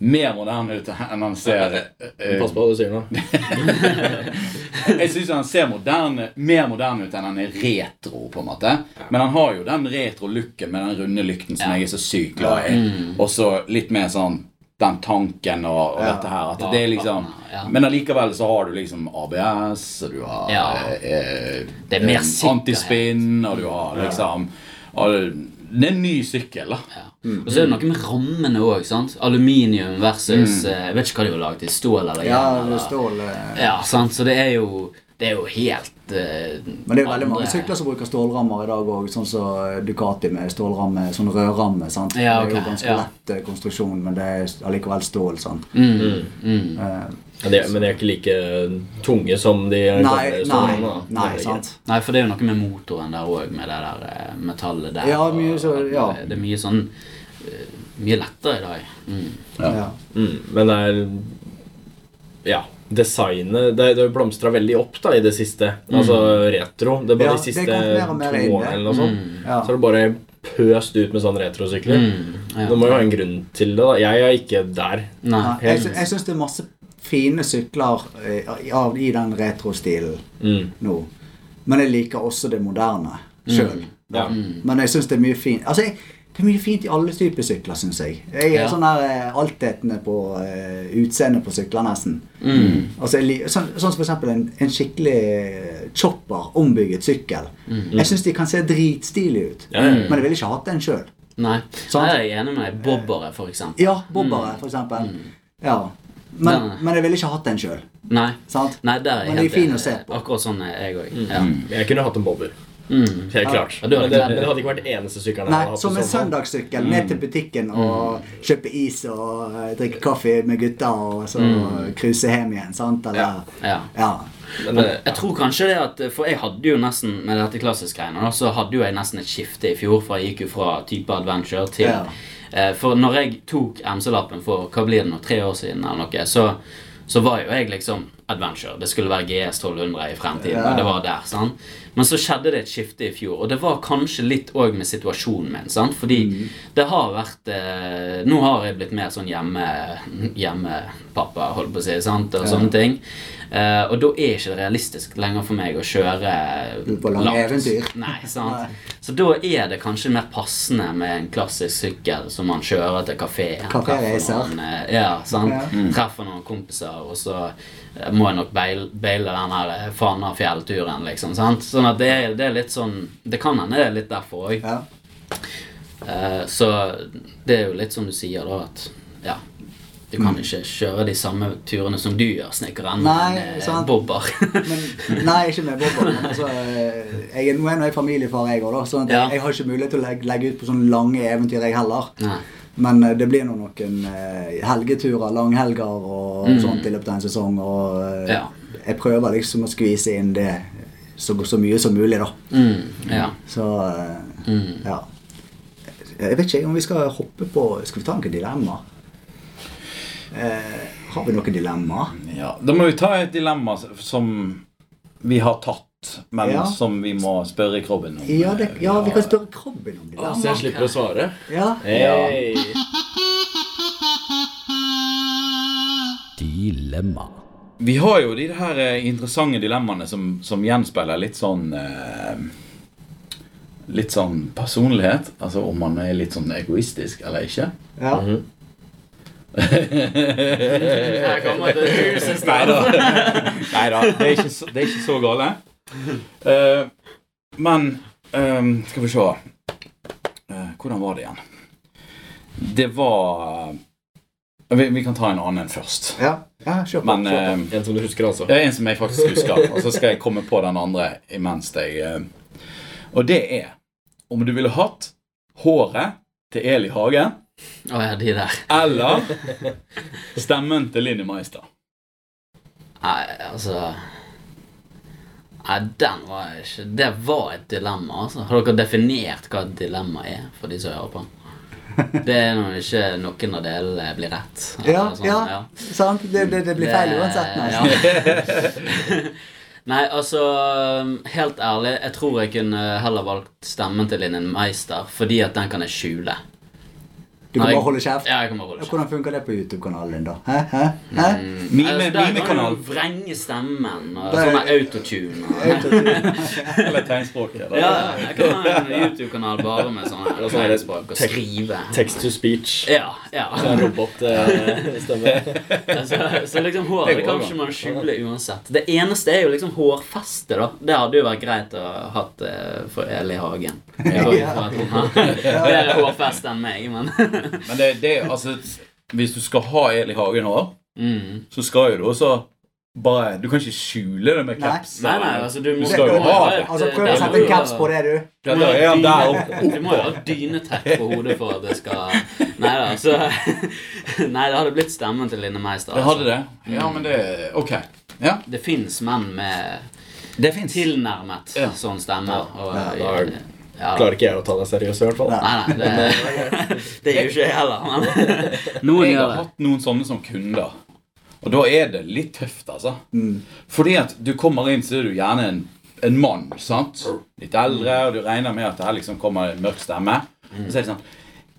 S4: mer moderne ut enn den ser eh,
S3: Pass på hva du sier nå.
S4: Jeg syns den ser moderne, mer moderne ut enn den er retro. på en måte Men den har jo den retro-looken med den runde lykten som jeg er så sykt glad i.
S2: Mm.
S4: Og så litt mer sånn den tanken og, og dette her. At det er liksom
S2: Ja.
S4: Men allikevel så har du liksom ABS, og du har
S2: Ja.
S4: eh, eh,
S2: Det er mer
S4: eh,
S2: sikkerhet.
S4: antispinn, og du har liksom og Det er en ny sykkel, da.
S2: Ja.
S1: Mm.
S2: Og så er det noe med rammene òg. Aluminium versus eh, Jeg vet ikke hva de var laget i. Stål eller
S1: Mm. Ja,
S2: jern?
S1: det
S2: eller-
S1: stål eh,
S2: Ja, sant? Så det er jo, det er jo helt eh,
S1: Men det er jo veldig mange
S2: andre-
S1: sykler som bruker stålrammer i dag òg, sånn som Ducati med stålramme, sånn rødramme. sant?
S2: Ja,
S1: Det er
S2: ok,
S1: jo ganske
S2: ja.
S1: lett eh, konstruksjon, men det er allikevel stål. sant?
S2: Mm, mm.
S1: Eh,
S3: Men de, er- men de er ikke like tunge som de
S1: nei, nei,
S3: storene, da.
S1: nei,
S3: Det er greit.
S1: sant.
S2: Nei, for det er jo noe med motoren der òg, med det der eh, metallet der.
S1: Ja,
S2: og-
S1: mye så- ja.
S2: Det er mye sånn eh, Mye lettere i dag. Mm.
S1: Ja.
S3: Mm, men det er ja, designet Det det har blomstra veldig opp da i det siste.
S2: Mm.
S3: Altså retro. Det er bare
S1: Ja,
S3: de
S1: det
S3: siste to
S1: kommer mer og mer inn,
S3: årene
S1: det.
S3: eller noe sånt.
S2: Mm.
S1: Ja.
S3: Så er det bare pøst ut med sånne retrosykler.
S2: Mm, ja.
S3: Det må jo ha en grunn til det. da Jeg er ikke der.
S2: Nei.
S1: Ja, jeg, sy- jeg syns det er masse fine sykler eh, av, i den retrostilen
S3: Mm.
S1: nå. Men jeg liker også det moderne sjøl.
S3: Ja.
S1: Men jeg syns det er mye fint Altså, jeg, det er mye fint i alle typer sykler, syns jeg. Jeg er
S2: Ja.
S1: sånn her eh, altetende på eh, utseendet på sykler, nesten.
S3: Mm.
S1: Altså, jeg, lik- sånn, sånn som for eksempel en, en skikkelig eh, chopper, ombygget sykkel. Jeg syns de kan se dritstilige ut,
S3: Mm. Ja, ja, ja.
S1: men jeg ville ikke hatt den sjøl.
S2: Nei.
S1: Sant.
S2: Nei, jeg er enig med deg. Bobbere, for eksempel.
S1: Ja, bobbere,
S3: Mm.
S1: for eksempel. Ja.
S2: Nei,
S1: Men,
S2: nei.
S1: men jeg ville ikke hatt den sjøl.
S2: Nei.
S1: Sant?
S2: Nei, der er
S1: Men
S2: jeg
S1: de er
S2: helt
S1: fine
S2: enig.
S1: å se på. Mm.
S2: Akkurat sånn er jeg òg. Ja.
S3: Jeg kunne hatt en bobber. Helt klart.
S2: Mm. Ja, du hadde
S3: men, det,
S2: kledd det.
S3: men det hadde ikke vært eneste sykkelen. jeg hadde
S1: Nei,
S3: hatt
S1: som en
S3: i så
S2: sånn.
S3: fall.
S1: søndagssykkel
S2: Mm.
S1: ned til butikken og kjøpe is og eh, drikke kaffe med gutta og så cruise hjem igjen, sant? Eller,
S2: Mm. Ja.
S1: ja.
S3: Men, eh,
S2: Jeg tror kanskje det at For jeg hadde jo nesten med dette klassisk-greiene da, så hadde jo jeg nesten et skifte i fjor, for jeg gikk jo fra type adventure til
S1: Ja.
S2: eh, For når jeg tok MC-lappen for hva blir det nå, tre år siden, eller noe, så, så var jo jeg liksom adventure. Det skulle være GS 1200 i fremtiden.
S1: Ja.
S2: og det var der, sant? Men så skjedde det et skifte i fjor, og det var kanskje litt òg med situasjonen min. sant? Fordi
S1: Mm.
S2: det har vært eh, Nå har jeg blitt mer sånn hjemme hjemmepappa, holdt på å si, sant? og sånne ting. Eh, og da er ikke det realistisk lenger for meg å kjøre
S1: På lange
S2: langt.
S1: eventyr.
S2: Nei,
S1: Nei.
S2: sant? Så da er det kanskje mer passende med en klassisk sykkel som man kjører til kafeen.
S1: Kaféreiser.
S2: treffer noen, eh, Ja, sant?
S1: Ja.
S2: Treffer noen kompiser, og så eh, må jeg nok beil- beile den her eh, Fana-fjellturen, liksom. sant? Sånn at det, er- det er litt sånn Det kan hende det er litt derfor òg.
S1: Ja.
S2: Eh, så det er jo litt som du sier, da, at ja du kan ikke kjøre de samme turene som du gjør, snekkeren.
S1: Mm. Nei,
S2: men, eh,
S1: sant.
S2: Bobber.
S1: Men, nei, ikke med bobber. Men altså, eh, jeg er nå er jeg familiefar, jeg òg, da. Sånn at
S2: Ja.
S1: jeg har ikke mulighet til å legge, legge ut på sånne lange eventyr, jeg heller.
S2: Nei.
S1: Men eh, det blir nå noen eh, helgeturer, langhelger og sånt i løpet av en sesong. Og eh,
S2: Mm. Ja.
S1: jeg prøver liksom å skvise inn det så, så mye som mulig, da.
S2: Mm, ja.
S1: Så eh, ja. Eh, Jeg vet ikke om vi skal hoppe på Skal vi ta noen dilemmaer? Eh, har vi noen dilemmaer?
S4: Ja, Da må vi ta et dilemma som vi har tatt, men
S1: Ja.
S4: som vi må spørre Krobben om.
S1: Ja, det, ja, vi kan
S4: har-
S1: spørre krabben om
S3: så jeg
S1: dilemmaer.
S3: slipper å Eh. svare?
S1: Ja.
S3: Hey.
S5: Dilemma.
S4: Vi har jo de her eh, interessante dilemmaene som, som gjenspeiler litt sånn eh, Litt sånn personlighet. Altså om man er litt sånn egoistisk eller ikke.
S1: ja.
S2: Mhm. Jeg kommer til huset
S4: Nei da. Det er ikke så, det er ikke så gale. Eh, men ehm, skal vi se Eh, Hvordan var det igjen? Det var eh, vi, vi kan ta en annen først.
S1: ja. ja kjør på.
S4: Men
S1: kjør på.
S4: ehm,
S3: En som du husker, altså.
S4: det er en som jeg faktisk husker, og så skal jeg komme på den andre imens jeg eh. Og det er om du ville hatt håret til Eli Hagen
S2: Å ja, de der.
S4: eller stemmen til Linni Meister.
S2: Nei, altså Nei, den var ikke Det var et dilemma, altså. Har dere definert hva et dilemma er, for de som hører på? Det er når ikke noen av delene blir rett. eller
S1: ja,
S2: sånn,
S1: ja, sant? Det, det, det blir feil uansett. Nei.
S2: Ja. Nei, altså Helt ærlig, jeg tror jeg kunne heller valgt stemmen til Linn Meister, fordi at den kan jeg skjule.
S1: Du kan
S2: Nei.
S1: bare holde kjeft.
S2: Ja, jeg kan bare holde kjeft.
S1: Hvordan funker det på YouTube-kanalen din, da? Hæ? Hæ? Hæ?
S4: Mime,
S2: Altså, der kan
S4: mimekanal
S2: du vrenge stemmen og
S1: Det er-
S2: sånn der autotune. og-
S4: eller tegnspråk. Eller?
S2: Ja, jeg kan ha en YouTube-kanal bare med sånn her
S3: sånn her
S2: tegnspråk og
S3: tek-
S2: skrive.
S3: Text to speech.
S2: Ja, ja. eh,
S3: Robotstemme.
S2: Så, så liksom håret
S4: Det
S2: det
S4: går bra.
S2: kan ikke man skjule uansett. Det eneste er jo liksom hårfeste, da. Det hadde jo vært greit å ha hatt eh, for Eli Hagen. For- for at hun har Bedre hårfeste enn meg, men
S4: Men det, det er altså Hvis du skal ha Eli Hagen hår,
S2: mm.
S4: så skal jo du også bare Du kan ikke skjule det med
S1: Nei.
S4: caps.
S2: Nei, nei, altså, du må
S4: skal jo
S2: du må
S4: ha
S2: ha
S4: det.
S2: et,
S1: Altså,
S2: eh,
S1: prøv å
S2: du
S1: sette
S2: må
S1: en caps
S2: ha-
S1: på det, du.
S2: Du må
S4: Ja,
S2: jo
S4: ja,
S2: ha
S4: der
S2: dyne- du må jo ha dynetekk på hodet for at det skal Nei da, så Nei, det hadde blitt stemmen til Line Meister.
S4: Det
S2: altså.
S4: hadde det. Ja, men det Ok. Ja.
S2: Det fins menn med
S4: Det fins.
S2: tilnærmet
S4: Ja.
S2: sånn stemme. Og,
S3: da er-
S2: ja.
S3: Klarer ikke jeg å ta deg seriøst, i hvert fall.
S2: Nei, nei, det, det er jo ikke jeg heller, men
S4: Jeg
S2: Noen
S4: har
S2: gjør det.
S4: hatt noen sånne som kunder. Og da er det litt tøft, altså. Fordi at du kommer inn, så er du gjerne en, en mann. sant? Litt eldre, og du regner med at det her liksom kommer en mørk stemme. Og så er det sånn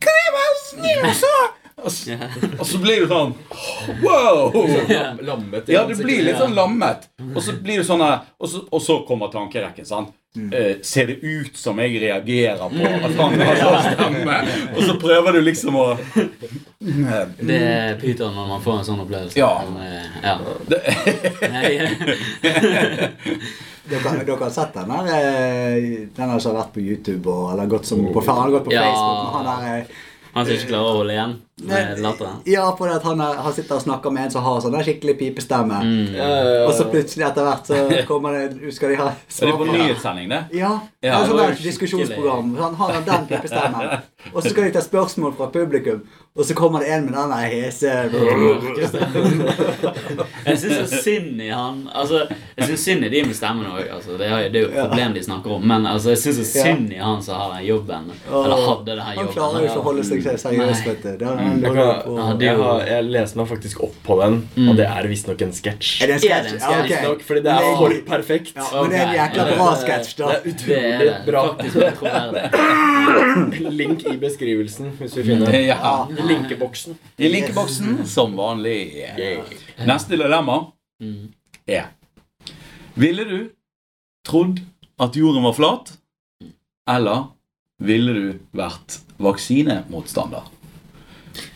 S4: Kan jeg være snill, så? Og så, og så blir du sånn Wow!
S3: Lam- Lammet i
S4: Ja, du
S3: ansiktet.
S4: blir litt sånn lammet. Og så blir du sånn her- og, så- og så kommer tankerekken. sant? Eh, ser det ut som jeg reagerer på at han har sånn stemme? Og så prøver du liksom å
S2: Det er pyton når man får en sånn opplevelse.
S4: Ja.
S2: Men, eh, ja. Jeg-
S1: Dere, dere har sett den der eh, Den har ikke vært på YouTube og, eller gått som, på, han har gått på
S2: Ja.
S1: Facebook. men Han der, eh,
S2: Han som ikke klarer å holde igjen med latteren.
S1: ja, på det at han, er, han sitter og snakker med en som har sånn der skikkelig pipestemme.
S3: Ja, ja, ja, ja.
S1: Og så plutselig etter hvert så kommer det Skal de ha
S4: Er det på
S1: svar-
S4: nyhetssending, det?
S1: Ja.
S4: Ja,
S1: altså,
S4: det
S1: det
S4: var
S1: er
S4: jo
S1: et diskusjonsprogram. Han har den- den pipestemmen. Og så skal de ta spørsmål fra publikum, og så kommer det en med den der hese
S2: Jeg syns synd i han altså, Jeg synes synd i de med stemmen òg. Altså, det er jo- det er jo et problem de snakker om, men altså, jeg syns
S1: Ja.
S2: synd i han som har den jobben. Eller hadde den her
S1: Han
S2: jobben.
S1: klarer jo ikke å holde seg seriøs, vet du. Det er, han
S3: Jeg,
S1: lurer på.
S3: kan, jeg, har, jeg leste meg faktisk opp på den, og det er visstnok en sketsj.
S1: Er det en
S2: Mm. Er det
S1: sketsj?
S2: en
S1: Ja, ok.
S2: sketsj
S3: Visstnok, Fordi det er
S1: Men-
S3: for perfekt.
S1: Ja, men det er en jækla
S2: Ok.
S1: bra sketsj, da.
S3: Det er
S2: Det er
S3: utrolig
S2: det.
S3: bra.
S2: Faktisk utroverdig.
S3: Link i beskrivelsen, hvis vi finner den.
S4: Ja.
S3: I linkeboksen.
S4: I linkeboksen som vanlig. Neste dilemma
S2: Mm.
S4: er Ville du trodd at jorden var flat, eller ville du vært vaksinemotstander?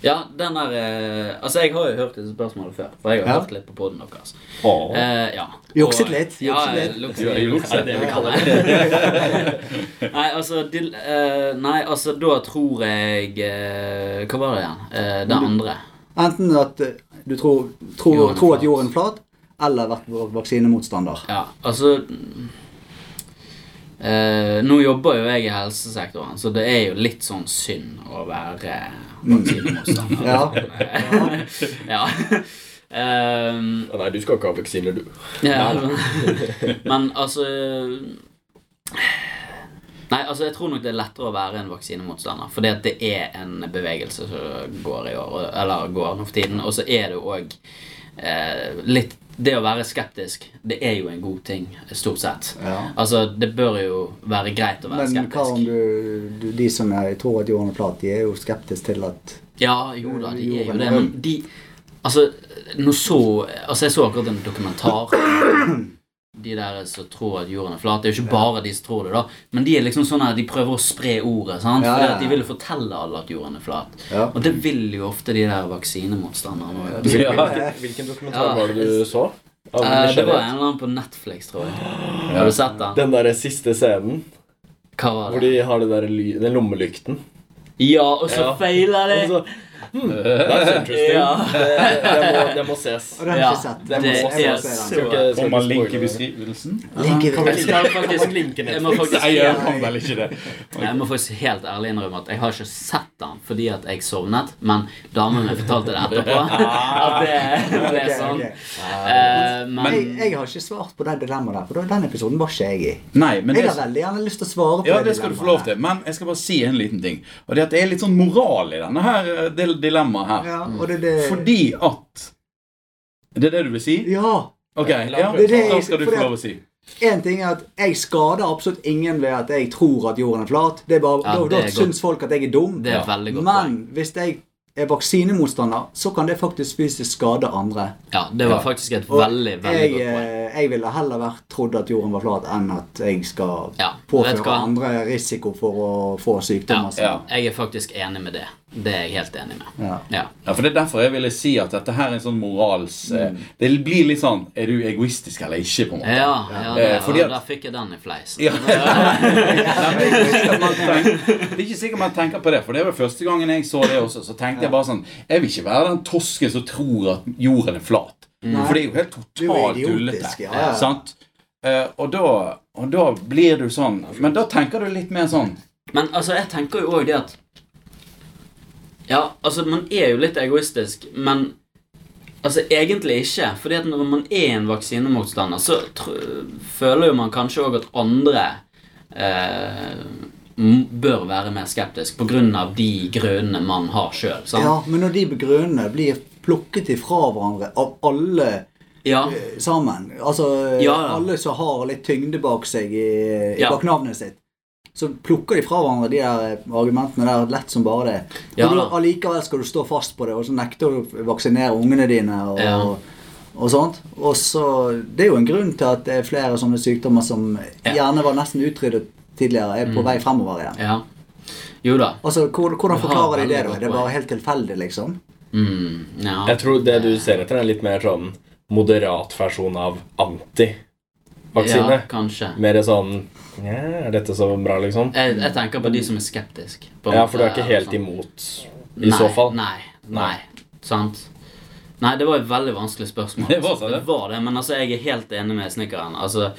S2: Ja, den der eh, Altså, jeg har jo hørt disse spørsmålene før, for jeg
S1: Ja.
S2: har hørt litt på poden deres.
S3: Åh.
S2: Eh, ja.
S1: Jukset
S2: Og-
S1: litt,
S2: Ja,
S1: jukset
S2: jeg
S1: litt.
S4: Ja,
S2: lukset
S4: jeg
S2: litt.
S4: lukset. Er det
S3: det vi
S2: nei, altså, dil- eh, nei, altså, da tror jeg eh, Hva var det igjen? Eh, det andre.
S1: Enten at eh, du tror, tror,
S2: Jorden
S1: tror at
S2: flat.
S1: jorden er flat, eller vært vår vaksinemotstander.
S2: Ja, altså mm, eh, Nå jobber jo jeg i helsesektoren, så det er jo litt sånn synd å være eh,
S1: Mm.
S2: vaksinemotstander.
S1: Ja.
S2: ja. Ehm,
S3: Ja, Nei, du skal ikke ha vaksiner, du.
S2: ja, men, men altså Nei, altså jeg tror nok det er lettere å være en vaksinemotstander. Fordi at det er en bevegelse som går i år, eller går nå for tiden. Og så er det jo òg eh, litt Det å være skeptisk, det er jo en god ting, stort sett.
S1: Ja.
S2: Altså, det bør jo være greit å være
S1: Men hva om
S2: skeptisk.
S1: du, du De som er, tror at jorden er flat, de er jo skeptiske til at
S2: Ja, jo da, de er jo
S1: Jorden
S2: det.
S1: er
S2: Men de Altså, nå så Altså, jeg så akkurat en dokumentar. De der som tror at jorden er flat. Det er jo ikke bare de som tror det, da. Men de er liksom sånn at de prøver å spre ordet. sant?
S1: Ja,
S2: Fordi
S1: ja,
S2: at de
S1: ja.
S2: vil jo fortelle alle at jorden er flat.
S1: Ja.
S2: Og det vil jo ofte de der vaksinemotstanderne òg.
S4: Ja.
S3: Hvilken dokumentar
S2: Ja. Eh,
S3: var det du så? Av
S2: det var
S3: nysgjerrighet.
S2: en eller annen på Netflix, tror jeg. Har du sett den?
S3: Den der siste scenen
S2: Hva var
S3: hvor
S2: det?
S3: de har det der ly den lommelykten.
S2: Ja, og så
S3: Ja.
S2: feiler de!
S3: Og så, hmm, that's interesting.
S2: Ja.
S3: Det, det, må, det må ses.
S1: Og den har
S2: Ja,
S1: jeg ikke sett.
S2: det
S1: Jeg må- jeg må
S2: er
S1: se den.
S2: så-
S3: ikke-
S4: Får man link i
S3: spoile det.
S4: beskrivelsen?
S1: Link i
S2: Jeg skal
S3: Kan man
S2: faktisk
S3: linke
S2: Jeg må faktisk
S4: Nei, jeg kan vel ikke det.
S2: Jeg må faktisk helt ærlig innrømme at jeg har ikke sett den fordi at jeg sovnet, men damen min fortalte det etterpå. At det ble
S1: Ok,
S2: sånn.
S1: ok.
S2: Eh, Men
S1: Jeg, jeg har ikke svart på det dilemmaet der, for da- den episoden var ikke jeg i.
S4: Nei, men
S1: Jeg
S4: det,
S1: har veldig gjerne lyst til å svare på
S4: ja, det skal du få lov til. Men jeg skal bare si en liten ting. Og det er at det er litt sånn moral i denne her eh, dil- dilemmaet her.
S1: Ja, og det, er det,
S4: Fordi at Det er det du vil si?
S1: ja,
S4: Ok, ja,
S1: Det er det jeg-
S4: da skal du få
S1: fordi at-
S4: lov å si.
S1: En ting er at jeg skader absolutt ingen ved at jeg tror at jorden er flat. Det er bare,
S2: Ja,
S1: da,
S2: det er
S1: da
S2: godt.
S1: syns folk at jeg er dum.
S2: det er et veldig godt poeng.
S1: Men hvis jeg er vaksinemotstander, så kan det faktisk fysisk skade andre.
S2: Ja, det var faktisk et
S1: Og
S2: veldig, veldig
S1: jeg,
S2: godt poeng.
S1: eh, jeg ville heller vært trodd at jorden var flat, enn at jeg skal
S2: Ja, vet du
S1: påføre
S2: hva?
S1: andre risiko for å få sykdommer.
S4: Ja,
S2: Jeg er faktisk enig med det. Det er jeg helt enig med.
S1: Ja.
S2: Ja.
S4: Ja, for Det er derfor jeg ville si at dette her er en sånn morals... eh,
S1: Mm.
S4: Det blir litt sånn Er du egoistisk eller ikke? på en måte.
S2: Ja, ja det,
S4: Eh,
S2: og
S4: fordi at-
S2: der fikk jeg den i fleisen.
S4: Ja. Nei, men det er ikke sikkert man tenker- det er ikke sikkert man tenker på det, for det var første gangen jeg så det også. Så tenkte jeg bare sånn Jeg vil ikke være den tosken som tror at jorden er flat. For det er jo helt
S1: Du er
S4: totalt dullete.
S1: idiotisk. Ja, ja.
S4: Sant? Eh, og, da, og da blir du sånn Men da tenker du litt mer sånn
S2: Men altså, jeg tenker jo òg det at Ja, altså, man er jo litt egoistisk, men Altså, egentlig ikke. Fordi at når man er en vaksinemotstander, så tr føler jo man kanskje òg at andre eh, m- bør være mer skeptisk på grunn av de grunnene man har sjøl.
S1: Ja, men når de begrunnene blir plukket ifra hverandre av alle
S2: Ja.
S1: eh, sammen. Altså eh,
S2: Ja, ja.
S1: alle som har litt tyngde bak seg i, i
S2: Ja.
S1: bak navnet sitt. Så plukker de fra hverandre de der eh, argumentene der lett som bare det.
S2: Ja,
S1: og du,
S2: da.
S1: allikevel skal du stå fast på det, og så nekter du å vaksinere ungene dine. og...
S2: Ja.
S1: Og sånt. Og så, Det er jo en grunn til at det er flere sånne sykdommer som
S2: Ja. Mm.
S1: gjerne var nesten utryddet tidligere, er på vei fremover igjen.
S2: ja. Jo da.
S1: Altså, hvor, Hvordan
S2: Du har
S1: forklarer de
S2: veldig
S1: det? da?
S2: godt
S1: Det er bare
S2: poeng.
S1: helt tilfeldig, liksom?
S2: Mm, ja.
S3: Jeg tror det du ser etter, er en litt mer sånn moderat versjon av anti-vaksine.
S2: Ja, kanskje.
S3: Mer sånn «Nja, Er dette så bra, liksom?
S2: Jeg, jeg tenker på de som er skeptiske.
S3: Ja, for du er ikke
S2: sånn.
S3: helt imot i
S2: nei,
S3: så fall.
S2: Nei. Nei. Sant. Nei, det var et veldig vanskelig spørsmål.
S4: Det var så det.
S2: det, var det men altså, jeg er helt enig med snekkeren. Altså,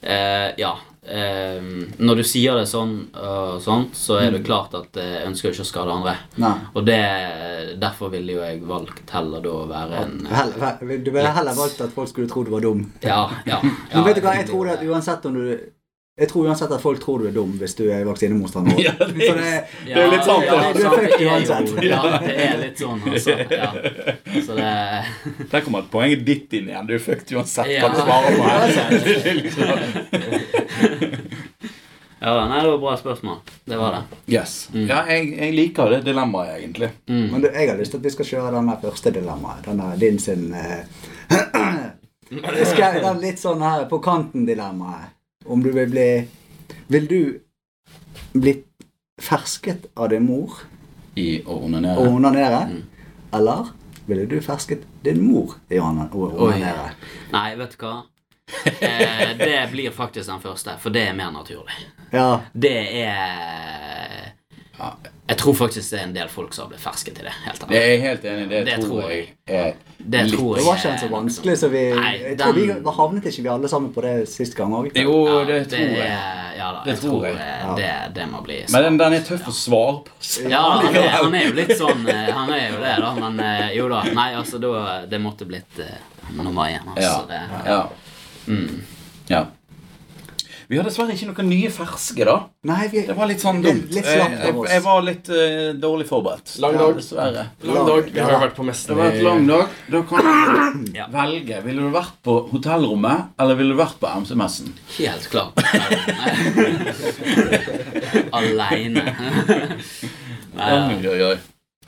S2: eh, ja. Eh, når du sier det sånn og sånt, så er
S4: Mm.
S2: det klart at eh, jeg ønsker jo ikke å skade andre.
S1: Nei.
S2: Og det, derfor ville jo jeg valgt heller da å være en eh,
S1: Heller, he- du ville heller valgt at folk skulle tro du var dum.
S2: Ja, ja. ja
S1: Men vet du hva, jeg tror det at uansett om du Jeg tror uansett at folk tror du er dum hvis du er vaksinemotstander.
S4: Ja, det er-
S1: Så det-
S4: Det er jo litt sånn. sant,
S2: ja,
S1: det. Du er
S2: sant,
S1: født
S2: det er jo-
S1: uansett.
S2: Ja, det er litt sånn, altså. Ja. Så det
S4: Der kommer et poeng ditt inn igjen. Du er fucked uansett
S2: Ja.
S4: hva du svarer på. her. Det er liksom-
S2: Ja, nei, det var bra spørsmål. Det var det.
S4: Yes. Ja, jeg, jeg liker det dilemmaet, egentlig.
S2: Mm.
S1: Men du, jeg har lyst til at vi skal kjøre den der første dilemmaet. Den der din sin eh, skal, Den litt sånn her på kanten-dilemmaet. Om du vil bli Vil du bli fersket av din mor
S4: I å
S1: og
S4: onanere.
S1: onanere? Eller ville du fersket din mor i å onan- å onanere?
S2: Nei, vet du hva? Eh, det blir faktisk den første, for det er mer naturlig.
S1: Ja.
S2: Det er
S4: Ja.
S2: Jeg tror faktisk det er en del folk som har blitt ferske til det. helt
S4: Det
S2: ærlig.
S4: er jeg helt enig i. Det,
S2: Det
S4: tror
S2: tror
S4: jeg er
S2: Det tror
S1: Det
S2: jeg
S1: var ikke en så vanskelig, så vi
S2: Nei,
S1: jeg tror vi
S2: den-
S1: havnet ikke vi alle sammen på det sist gang òg.
S4: Jo,
S2: Ja,
S4: det
S2: er-
S4: tror jeg.
S2: Ja da,
S4: Det
S2: jeg
S4: tror
S2: tror
S4: jeg.
S2: eh, det, det må bli
S4: Men den, den er tøff å svare på. så-
S2: Ja, han er, han er jo litt sånn eh, Han er jo det, da. Men eh, jo da. Nei, altså, da Det måtte blitt eh, nummer én.
S4: Ja.
S2: Altså, det, mm,
S4: ja. ja. Vi har dessverre ikke noen nye ferske, da.
S1: Nei, vi,
S4: Det var litt sånn
S1: Det er
S4: dumt.
S1: litt slakt av
S4: jeg, jeg,
S1: oss.
S4: jeg var litt eh, dårlig forberedt.
S3: Lang dag.
S4: Dessverre.
S3: Lang dag. Vi har jo vært på messen
S4: Det var et lang dag. Da kan du
S2: Ja.
S4: velge. Ville du vært på hotellrommet, eller ville du vært på MC-messen?
S2: Helt klart. Aleine. Nei,
S4: Oi, oi, oi.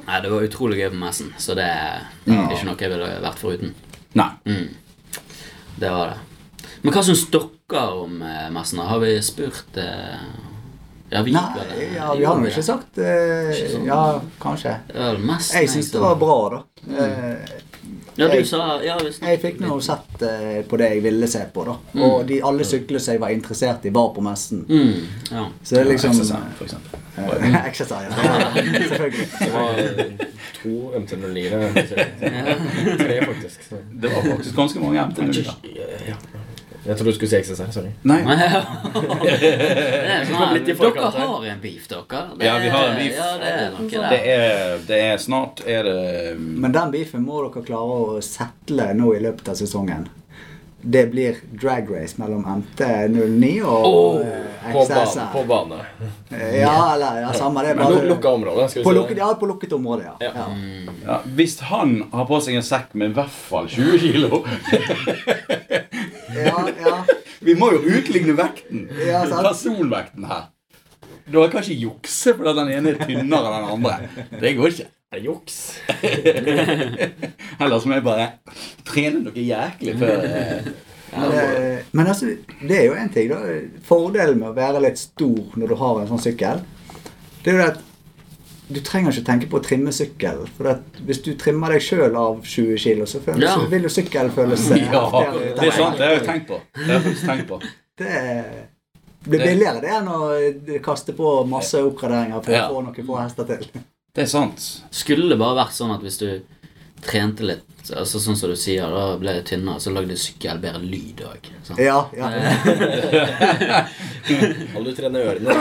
S2: nei, det var utrolig gøy på messen, så det er ikke noe jeg ville vært foruten.
S4: Nei.
S2: Det var det. Men hva syns dere om eh, messen? da? Har vi spurt eh, Ja, vi gikk vel
S1: Nei, ja, vi har nå ikke sagt eh, Ja, kanskje. Jeg syns det var bra, da. Eh,
S2: Ja, du
S1: jeg-
S2: sa ja, vi snakket
S1: Jeg fikk nå sett eh, på det jeg ville se på, da. Og de alle syklene som jeg var interessert i, var på messen.
S2: mm, ja.
S1: Så det er liksom
S4: XSM, for eksempel.
S1: Exercise. ja, Selvfølgelig.
S3: Det var eh, to MT09-ere. Tre, faktisk. Så.
S4: Det var faktisk ganske mange MT-er.
S3: Ja. Jeg trodde du skulle si XSR. Sorry.
S4: Nei.
S2: Det er sånn,
S3: kom
S2: her,
S3: litt i
S2: dere
S3: forkant her.
S2: har en beef, dere. Det
S4: Ja, vi har en
S2: er-
S4: beef.
S2: Ja, det er noe der.
S4: Det er, det er snart er det mm,
S1: Men den beefen må dere klare å settle nå i løpet av sesongen. Det blir drag race mellom MT09 og
S2: Åh,
S1: eh,
S3: På bane.
S1: XSR.
S3: På bane.
S1: Ja, eller ja, samme det.
S3: Men luk-
S1: Bare,
S3: lukka område. Skal
S1: på,
S3: vi si
S1: lukket,
S3: det?
S1: ja, på lukket område, ja.
S3: Ja.
S1: ja.
S4: ja, Hvis han har på seg en sekk med i hvert fall 20 kilo
S1: ja, ja.
S4: Vi må jo utligne vekten.
S1: Ja, sant.
S4: Personvekten her. Du kan ikke jukse fordi den ene er tynnere enn den andre. Det går ikke.
S3: Er det Juks.
S4: Ellers må jeg bare trene noe jæklig før eh,
S1: Men, eh, men altså, det er jo en ting da. Fordelen med å være litt stor når du har en sånn sykkel, det er jo det at du trenger ikke tenke på å trimme sykkelen. For at hvis du trimmer deg sjøl av 20 kilo, så, føles,
S2: Ja.
S1: så vil jo sykkelen føles eh,
S4: Ja,
S1: heftigere ut.
S4: det er sant. Det har jeg tenkt på. Det har jeg faktisk tenkt på.
S1: Det er- blir billigere det enn å eh, kaste på masse oppgraderinger for
S4: Ja.
S1: å få noen få hester til.
S4: Det er sant.
S2: Skulle det bare vært sånn at hvis du trente litt, altså sånn som du sier, da ble det tynnere, så lagde sykkel bedre lyd òg.
S1: Ja, ja.
S3: Kan du trene ørene?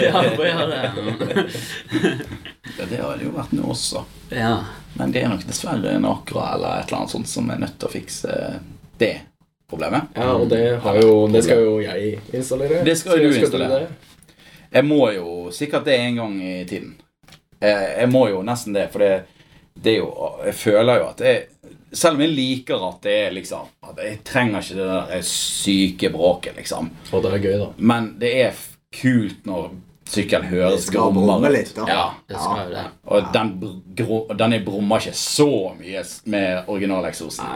S2: Ja, bare gjør det.
S4: Ja, det hadde jo vært noe også.
S2: ja.
S4: Men det er nok dessverre en Acra eller et eller annet sånt som er nødt til å fikse det problemet.
S3: Ja, og det, har jo, det skal jo jeg installere.
S4: Det skal jo du
S3: Skal- skal
S4: installere.
S3: det?
S4: Jeg må jo sikkert det en gang i tiden. Eh, Jeg må jo nesten det, for det, det er jo, Jeg føler jo at jeg Selv om jeg liker at det er liksom At jeg trenger ikke det der eh, syke bråket, liksom.
S3: Og det er gøy, da.
S4: Men det er f- kult når sykkelen høres
S1: skal brumme litt, da.
S4: Ja.
S2: Det skal jo det.
S4: Og den, br- gro- og den brummer ikke så mye s- med originaleksosen.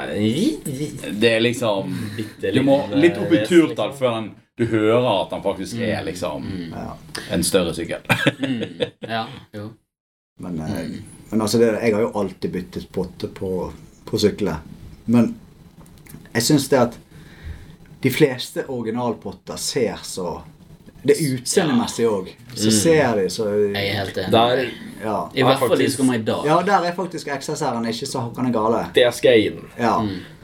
S4: Det er liksom
S3: Bitte
S4: Du må
S3: liten,
S4: litt liksom. opp i
S3: eh,
S4: turtall før den, du hører at den faktisk er liksom
S1: Ja.
S4: en større sykkel.
S2: Mm. Ja, jo.
S1: Men, eh, men altså, det, jeg har jo alltid byttet potte på, på sykler. Men jeg syns det at de fleste originalpotter ser så Det er utseendemessig òg. Så ser de så
S2: Jeg er helt enig.
S3: Der,
S1: Ja.
S2: I hvert fall de
S3: faktisk-
S2: som kommer i dag.
S1: ja, der er faktisk XSR-en ikke så hakkande gale.
S3: det skal jeg gi den.
S1: Ja.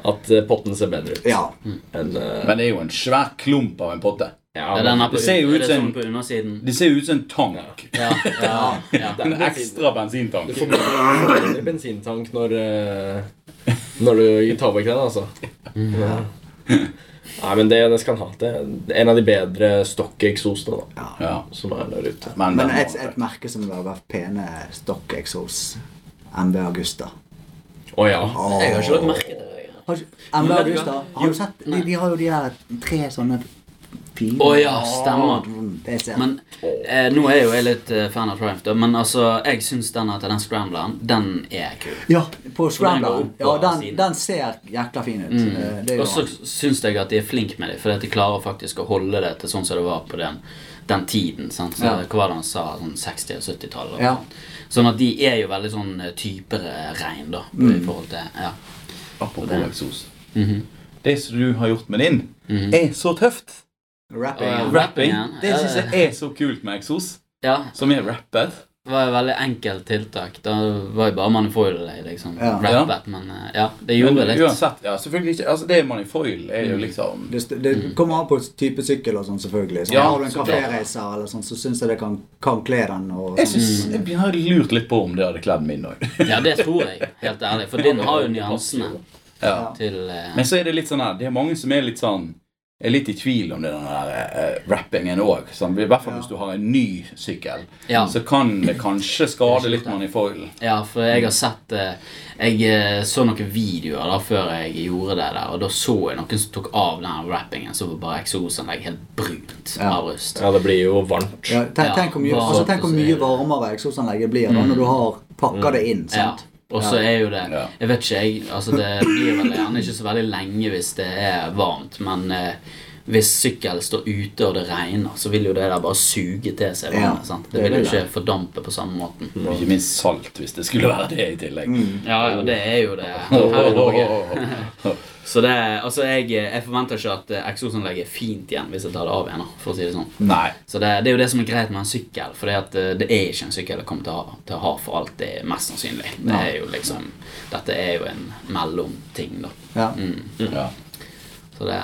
S3: At eh, potten ser bedre ut.
S1: ja.
S3: enn, eh,
S4: Men det er jo en svær klump av en potte.
S3: ja,
S2: Det er den her
S3: men-
S2: på,
S4: ser jo
S2: er
S4: ut
S2: det
S4: som-
S2: sånn på undersiden.
S4: Det ser jo ut som en tank.
S2: Ja, ja, ja.
S4: En ekstra bensintank.
S3: Du får mindre mindre bensintank når, eh, når du tar vekk den, altså. Nei, men det, det skal han ha. Det er en av de bedre stokkexosene da,
S4: Ja.
S3: som er der ute.
S4: Men,
S1: Men
S4: den
S1: et,
S4: var-
S1: et merke som lager pene stokkeksos. MB Augusta.
S3: Å ja.
S2: Jeg har ikke lagt merke til det. jeg.
S1: Har ikke- MB
S2: Men vet du
S1: Augusta,
S2: hva?
S1: har du sett? De, de har jo de her tre sånne fine
S2: Å ja, stemmer.
S1: Det ser
S2: Men eh, nå er jo jeg litt eh, fan av Triumph, da, men altså, jeg syns den her til den scrambleren, den er kul.
S1: Ja, på
S2: går
S1: Scrambler.
S2: opp på
S1: Ja, den,
S2: siden. Mm.
S1: den ser jækla fin ut. Eh, Det
S2: Og
S1: gjør
S2: så
S1: den.
S2: syns jeg at de er flinke med det, fordi at de klarer faktisk å holde det til sånn som det var på den, den tiden. Sant? Så,
S1: Ja.
S2: Hva var det han sa? Sånn 60- og 70-tallet. og
S1: Ja.
S2: sånt. Sånn at de er jo veldig sånn eh, typere rein, da, i
S1: Mm.
S2: forhold til ja. Mhm.
S4: Apropos eksos. Det som du har gjort med din, er så tøft.
S1: Rapping.
S2: Å, ja.
S1: ja.
S4: Rapping.
S2: Rappingen,
S4: Det
S2: ja,
S4: syns
S2: det-
S4: jeg er så kult med eksos,
S2: ja.
S4: som er rappet.
S2: Det var et veldig enkelt tiltak. Da var jo bare manifoilet liksom
S1: Ja.
S2: rappet, men eh, ja, det gjorde
S4: Men
S2: litt. Mm.
S4: Uansett, ja, selvfølgelig ikke. Altså, det er manifoil er jo liksom
S1: Det, st- det kommer an på type sykkel og sånn, selvfølgelig. Så
S4: Ja,
S1: har du en
S4: så
S1: kaféreiser eller sånn, så syns jeg det kan, kan kle den. og
S4: Jeg,
S1: sånn.
S4: synes,
S2: Mm.
S4: jeg har lurt litt på om det hadde kledd min òg.
S2: Ja, det tror jeg, helt ærlig. For din har jo nyansene
S4: Ja.
S2: til eh,
S4: Men så er det litt sånn her Det er mange som er litt sånn er litt i tvil om det den der eh, rappingen òg. Sånn, I hvert fall
S1: Ja.
S4: hvis du har en ny sykkel.
S2: Ja.
S4: Så kan det kanskje skade litt manifoilen.
S2: Ja, for jeg har sett eh, Jeg eh, så noen videoer da før jeg gjorde det der, og da så jeg noen som tok av den rappingen, så var bare eksosanlegg helt brunt
S1: Ja.
S2: av rust.
S3: ja, det blir jo varmt.
S1: Ja, tenk,
S2: Ja,
S1: tenk, hvor mye,
S2: bare-
S1: altså, tenk hvor mye varmere eksosanlegget blir da, når du har pakka det inn.
S2: Mm. Ja.
S1: sant?
S2: Og så er jo det
S4: Ja.
S2: Jeg vet ikke, jeg. Altså, det blir vel gjerne ikke så veldig lenge hvis det er varmt, men eh, hvis sykkel står ute og det regner, så vil jo det der bare suge til seg
S1: Ja,
S2: vannet. sant?
S1: det
S2: Det Mm. vil jo
S1: vil det.
S2: ikke fordampe på samme måten.
S4: Og ikke minst salt, hvis det skulle være det i tillegg.
S2: Ja, ja, det er jo det
S4: Åh,
S2: her i
S4: åh,
S2: Norge.
S4: åh, åh.
S2: Så det, altså jeg, jeg forventer ikke at eh, eksosanlegget er fint igjen hvis jeg tar det av igjen. da, for å si det sånn.
S4: Nei.
S2: Så det, det er jo det som er greit med en sykkel, for det, at, eh, det er ikke en sykkel jeg kommer til å ha, til å ha for alt det er mest sannsynlig. Det er jo liksom, dette er jo en mellomting, da. Mm.
S1: Ja.
S4: Ja.
S2: Så det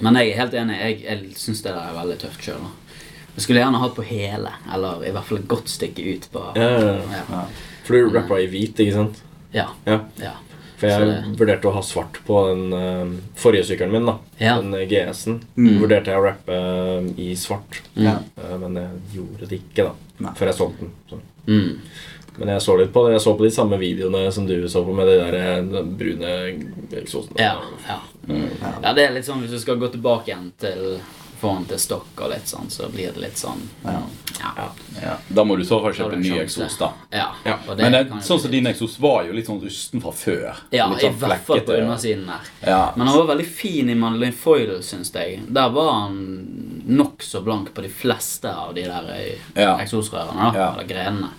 S2: Men jeg er helt enig. Jeg, jeg syns det der er veldig tøft sjøl. Jeg skulle gjerne hatt på hele, eller i hvert fall et godt stykke ut på
S3: Ja, ja, ja.
S2: Ja.
S3: For du rappa i hvit, ikke sant?
S2: Ja.
S3: Ja.
S2: ja.
S3: For jeg
S2: Så
S3: vurderte å ha svart på den eh, forrige sykkelen min, da.
S2: Ja.
S3: Den eh, GS-en.
S4: Mm.
S3: Vurderte jeg å rappe eh, i svart.
S1: Ja.
S3: Eh, men jeg gjorde det ikke, da.
S1: Nei.
S3: Før jeg solgte den. Så.
S2: Mm.
S3: Men jeg så litt på det. Jeg så på de samme videoene som du så på med de der eh, den brune eksosen.
S2: Ja, ja. ja, det er litt sånn hvis du skal gå tilbake igjen til foran til stokk og litt sånn, så blir det litt sånn Ja. ja.
S4: Ja. Da må du i så fall
S2: Da har
S4: kjøpe
S2: du
S4: en ny
S2: en sjanse.
S4: eksos, da.
S2: Ja, og det
S4: Men det,
S2: kan jo
S4: sånn som
S2: bli-
S4: din eksos var jo litt sånn rusten fra før.
S2: Ja,
S4: litt
S2: i
S4: sånn
S2: hvert fall på
S4: flekkete.
S2: undersiden der.
S4: Ja.
S2: Men han var veldig fin i Madeline Foyle, syns jeg. Der var han nokså blank på de fleste av de der eh,
S4: Ja.
S2: eksosrørene, da,
S4: Ja.
S2: eller grenene.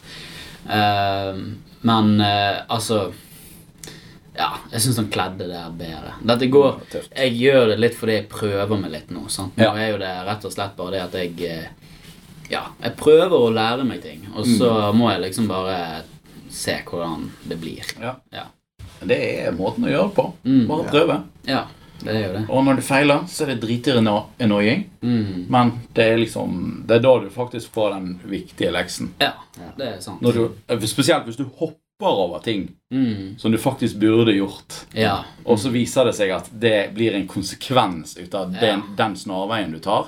S2: Ehm, men eh, altså Ja, jeg syns han kledde det her bedre. Dette går
S4: tøft.
S2: Jeg gjør det litt fordi jeg prøver meg litt nå. sant? Nå
S4: Ja.
S2: er jo det rett og slett bare det at jeg eh, ja, jeg prøver å lære meg ting, og så
S4: Mm.
S2: må jeg liksom bare se hvordan det blir.
S4: Ja.
S2: Ja.
S4: Det er måten å gjøre det på.
S2: Mm.
S4: Bare prøve.
S2: ja det er jo det.
S4: Og når du feiler, så er det driternoying.
S2: Mm.
S4: Men det er liksom Det er da du faktisk får den viktige leksen.
S2: Ja, det er sant.
S4: Når du, eh, spesielt hvis du hopper over ting
S2: Mm.
S4: som du faktisk burde gjort.
S2: Ja.
S4: Og så viser det seg at det blir en konsekvens ut av den, den snarveien du tar.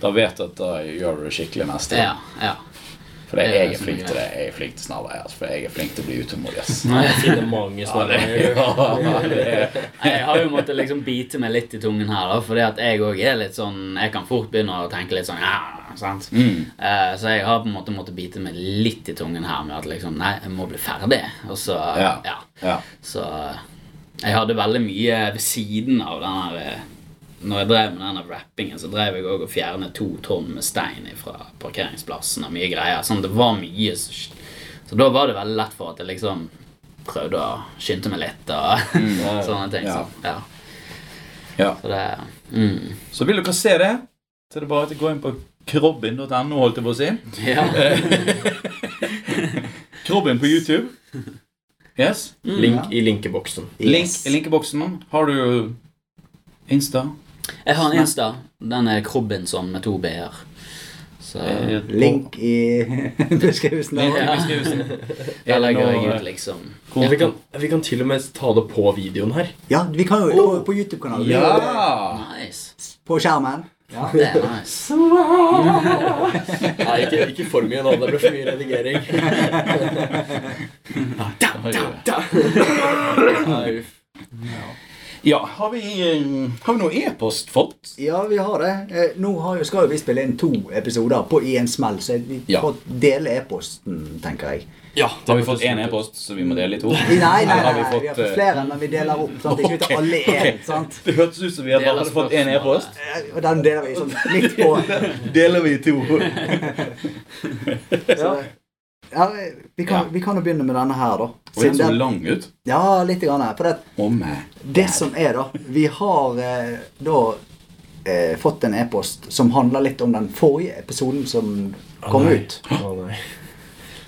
S4: Da vet du at da gjør du det skikkelig neste
S2: Mm. Ja,
S4: gang.
S2: ja.
S4: For jeg,
S2: Det er
S4: jeg er
S2: så
S4: flink
S2: mye.
S4: til det. Jeg er flink til snarveier. ass, For jeg er flink til å bli utålmodig. ass.
S3: Jeg finner mange
S4: Ja, det,
S3: snarveier.
S4: ja, det er
S2: Jeg har jo måttet liksom bite meg litt i tungen her, da, fordi at jeg òg er litt sånn Jeg kan fort begynne å tenke litt sånn ja, sant?
S4: Mm.
S2: Eh, Så jeg har på en måte måttet bite meg litt i tungen her med at liksom Nei, jeg må bli ferdig. Og så Ja.
S4: Ja. ja.
S2: Så eh, jeg hadde veldig mye ved siden av den her eh, Når jeg drev med denne rappingen, så drev jeg òg og fjernet to tonn med stein fra parkeringsplassen og mye greier. Sånn, det var mye så, så da var det veldig lett for at jeg liksom prøvde å skynde meg litt og
S4: Mm.
S3: ja.
S2: sånne ting.
S4: Ja.
S2: Så, ja.
S4: Ja.
S2: så det mm.
S4: Så vil dere se det, så er det bare til å gå inn på krobbin.no, holdt jeg på å si.
S2: Ja.
S4: Krobbin på YouTube. Yes.
S2: Mm.
S3: Link i linkeboksen.
S4: Link
S1: Yes.
S4: i linkeboksen. Har du Insta?
S2: Jeg har en Insta. Den er Krobinson med to b-er. Så
S1: Link i beskrivelsen.
S4: Link i
S1: der.
S2: Ja.
S4: beskrivelsen.
S2: der legger jeg
S4: Nå,
S2: ut, liksom.
S4: hvor-
S3: Vi kan, vi kan til og med ta det på videoen her.
S1: Ja, vi kan jo gå på YouTube-kanalen.
S4: Oh. Ja!
S2: Nice.
S1: På skjermen.
S2: Det er nice.
S3: Nei, ikke, ikke for mye nå. Det blir for mye redigering. Nei, uff.
S4: Ja, har vi, eh, har vi noe e-post fått?
S1: Ja, vi har det. Eh, Nå har jo, skal jo vi spille inn to episoder på i en smell, så vi
S4: Ja.
S1: får dele e-posten, tenker jeg.
S3: Ja,
S4: Har vi fått én e-post, så vi må dele i to?
S1: Nei, nei, nei,
S4: Eller
S1: nei, vi har fått
S4: eh,
S1: flere, men vi deler opp. sant? Ikke ut til alle i en, sant?
S4: Det hørtes ut som vi hadde
S2: Deler
S4: bare hadde fått én
S2: spørsmålet.
S4: e-post.
S1: Eh, Og den deler vi sånn midt på.
S4: Deler vi i to.
S1: Så, ja, vi kan,
S4: Ja.
S1: vi kan jo begynne med denne her, da.
S4: Og den
S1: Siden
S4: så
S1: den-
S4: lang ut.
S1: ja, litt. Grann, her, for det,
S4: Å, meg.
S1: det som er, da Vi har eh, da eh, fått en e-post som handler litt om den forrige episoden som kom
S3: nei.
S1: ut.
S3: Å, nei.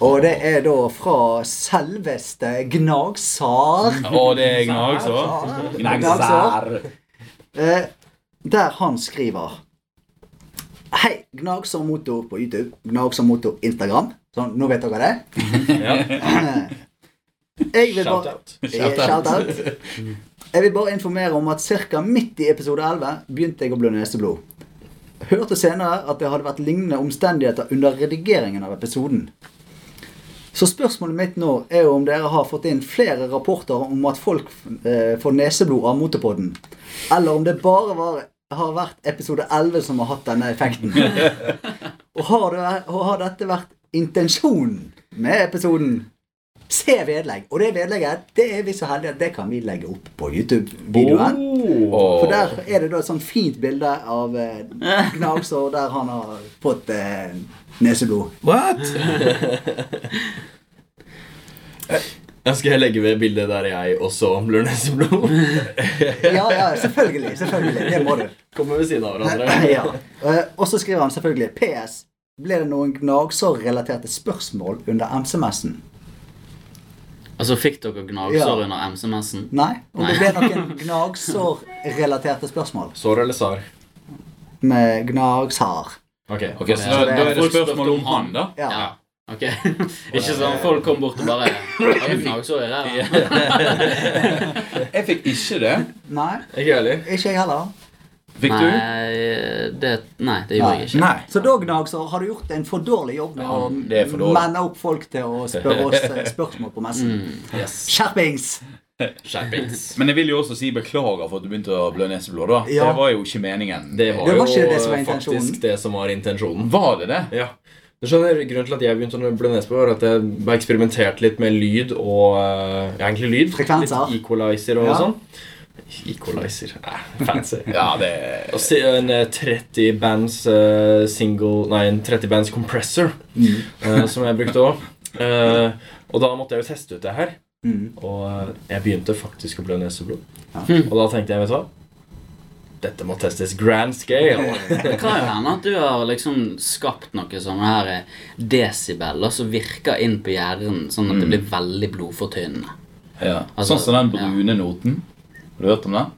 S1: Og det er da fra selveste Gnagsar.
S4: Å, det er Gnag, så.
S1: Gnagsar.
S4: Gnagsar.
S1: Eh, der han skriver Hei, Gnag som motor på YouTube. Gnag som motor Instagram. Sånn, nå vet dere det. Eh, Jeg vil bare
S3: Shout-out.
S1: Eh, Shout-out. Jeg vil bare informere om at ca. midt i episode 11 begynte jeg å blø neseblod. Hørte senere at det hadde vært lignende omstendigheter under redigeringen av episoden. Så spørsmålet mitt nå er jo om dere har fått inn flere rapporter om at folk eh, får neseblod av motorpodden, eller om det bare var, har vært episode 11 som har hatt denne effekten. og, har det, og har dette vært intensjonen med episoden? Se vedlegg. Og det vedlegget det er vi så heldige at det kan vi legge opp på YouTube-videoen.
S3: Oh.
S1: For der er det da et sånt fint bilde av eh, Gnagsår der han har fått eh, neseblod.
S4: What?
S3: Jeg skal legge ved bildet der jeg også blør neseblod.
S1: Ja, ja, selvfølgelig. selvfølgelig, Det må du.
S3: Kommer ved siden av hverandre.
S1: ja. Eh, Og så skriver han selvfølgelig PS. Ble det noen gnagsår-relaterte spørsmål under MCMS-en?
S2: Altså, fikk dere gnagsår
S1: Ja.
S2: under MC-mensen?
S1: Nei. Om det ble
S2: Nei.
S1: noen gnagsår-relaterte spørsmål
S3: Sår eller sar?
S1: med gnagsår.
S3: Ok.
S4: Ok, så da, da er det spørsmål om han, da.
S1: Ja.
S2: Ja. Ok. Ikke sånn folk kom bort og bare Har du gnagsår i ræva?
S4: Jeg fikk ikke det.
S1: Nei,
S3: Ikke heller.
S1: ikke jeg heller.
S4: Fikk du?
S2: Nei, det, nei, det gjorde jeg ikke.
S4: Nei.
S1: Så Dog Gnagsår, har du gjort en for dårlig jobb med
S4: det er for
S1: å
S4: dårlig.
S1: menne opp folk til å spørre oss eh, spørsmål på messen? Skjerpings!
S2: Skjerpings.
S4: Men jeg vil jo også si beklager for at du begynte å blø neseblod. da.
S1: Ja.
S4: Det var jo ikke meningen.
S3: Det var,
S1: Det var
S3: jo
S1: ikke det som var
S3: eh,
S1: intensjonen.
S3: faktisk det som var intensjonen.
S4: Var det det?
S3: Ja. Du skjønner, Grunnen til at jeg begynte å blø neseblod, var at jeg har eksperimentert litt med lyd og eh, ja, Egentlig lyd.
S1: Frekvenser.
S3: Litt equalizer og
S1: Ja.
S3: sånn. Equalizer eh, Fancy.
S4: Ja, det
S3: Og se en 30 bands eh, single Nei, en 30 bands compressor
S4: Mm.
S3: eh, som jeg brukte òg. og da måtte jeg jo teste ut det her.
S1: Mm.
S3: Og eh, jeg begynte faktisk å blø neseblod.
S1: Ja.
S3: Og da tenkte jeg, vet du hva Dette må testes grand scale.
S2: Det kan jo hende at du har liksom skapt noe sånne her eh, desibeler som virker inn på hjernen, sånn at det blir veldig blodfortynnende.
S4: Mm. ja.
S2: Altså,
S4: Sånn som den brune noten. Har du hørt om den?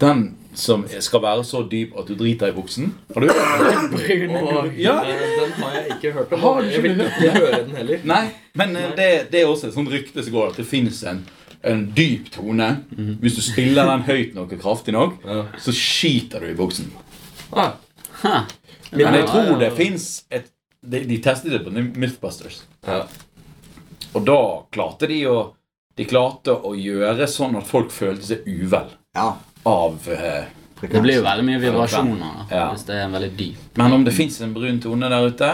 S4: Den som skal være så dyp at du driter i buksen. Har du hørt om den?
S3: Åh,
S4: Ja.
S3: eh, Den har jeg ikke hørt om.
S4: Har du ikke
S3: jeg vil
S4: hørt
S3: ikke høre den heller.
S4: Nei, men eh, det, det er også et sånt rykte som går at det finnes en, en dyp tone. Hvis du spiller den høyt nok og kraftig nok,
S3: Ja.
S4: så skiter du i buksen.
S3: Ah,
S2: Hæ?
S4: Men
S2: Ja,
S4: jeg tror
S2: ja.
S4: det fins et de, de testet det på Mythbusters.
S3: Ja.
S4: Og da klarte de å De klarte å gjøre sånn at folk følte seg uvel
S1: Ja.
S4: av eh,
S1: frekvens.
S2: Det blir jo veldig mye vibrasjoner da,
S4: Ja.
S2: hvis det er en veldig dyp
S4: Men om det fins en brun tone der ute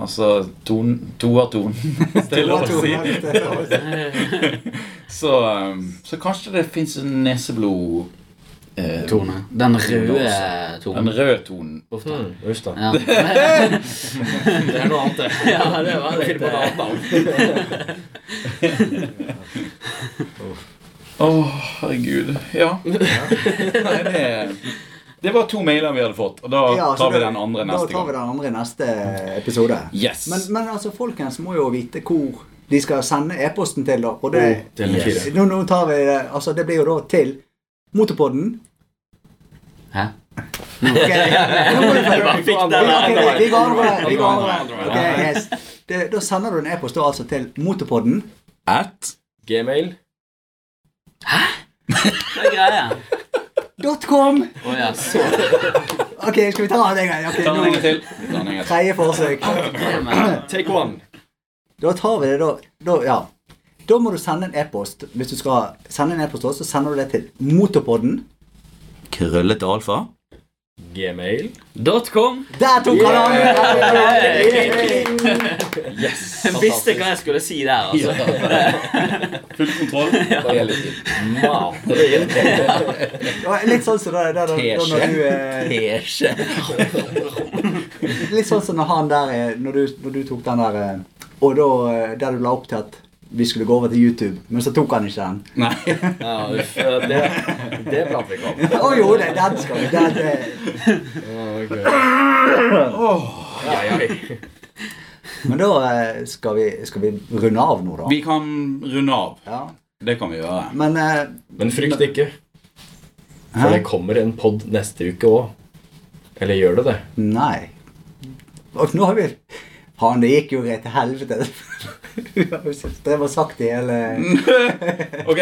S4: Altså ton, toertonen, hvis det er lov å si. Så, eh, så kanskje det fins en neseblod... eh,
S2: tone. Den røde
S4: Den
S2: tonen.
S4: røde tonen.
S2: Uff da.
S3: Mm, uff da.
S2: Ja.
S3: Det er noe annet, det.
S2: ja, det var litt
S3: Finne på et
S2: eh,
S3: annet navn.
S4: Å, herregud. Ja. Nei, det, det var to mailer vi hadde fått, og da
S1: Ja, så
S4: tar vi
S1: da-
S4: den andre neste
S1: Da tar vi
S4: gang.
S1: den andre i neste episode.
S4: Yes.
S1: Men, men altså, folkens må jo vite hvor de skal sende e-posten til. da, Og det,
S3: Til den
S4: Yes.
S3: fire.
S1: nå, nå tar vi det Altså, det blir jo da til Motorpodden.
S2: Hæ?
S1: Ok, nå må du følge med.
S3: fikk den
S1: Ja, ok,
S3: andre.
S1: vi- vi går andre, vi går
S4: Andre
S1: andre.
S4: veien.
S1: Ok, yes. Det- Da sender du en e-post da altså til Motorpodden.
S4: At
S3: Gmail.
S2: Hva er greia?
S1: .com.
S2: Å ja.
S1: Ok, skal vi ta det en gang? Ok,
S4: Ta den en gang
S1: nå,
S4: til. Ta den en gang til.
S1: tredje forsøk.
S3: Take one.
S1: Da tar vi det, da. Da, ja. da må du sende en e-post. Hvis du skal sende en e-post, da, så sender du det til Motorpodden.
S4: Krøllete alfa.
S3: Gmail.
S2: Dotcom.
S1: Der tok han av!
S3: Yes!
S2: Jeg visste hva jeg skulle si der, altså.
S4: Full kontroll. Det er litt fint.
S1: Litt sånn som det, det, det, da når du eh,
S4: Tesje.
S1: Litt sånn som når han der eh, Når du, når du tok den der eh, Og da eh, der du la opp til at vi skulle gå over til YouTube, men så tok han ikke den.
S4: Nei.
S3: Ja, uff, det, det prater vi ikke om.
S1: Å jo, det, den skal vi. Den, eh.
S3: Ai, ai.
S1: Men da eh, skal vi, skal vi runde av nå, da.
S4: Vi kan runde av.
S1: Ja.
S4: Det kan vi gjøre.
S1: Men eh,
S3: Men frykt ikke, for
S1: Hæ?
S3: det kommer en pod neste uke òg. Eller gjør det det?
S1: Nei. Og nå har vi Faen, det gikk jo rett til helvete. Vi har jo sittet- Drev og sagt det hele
S4: Ok.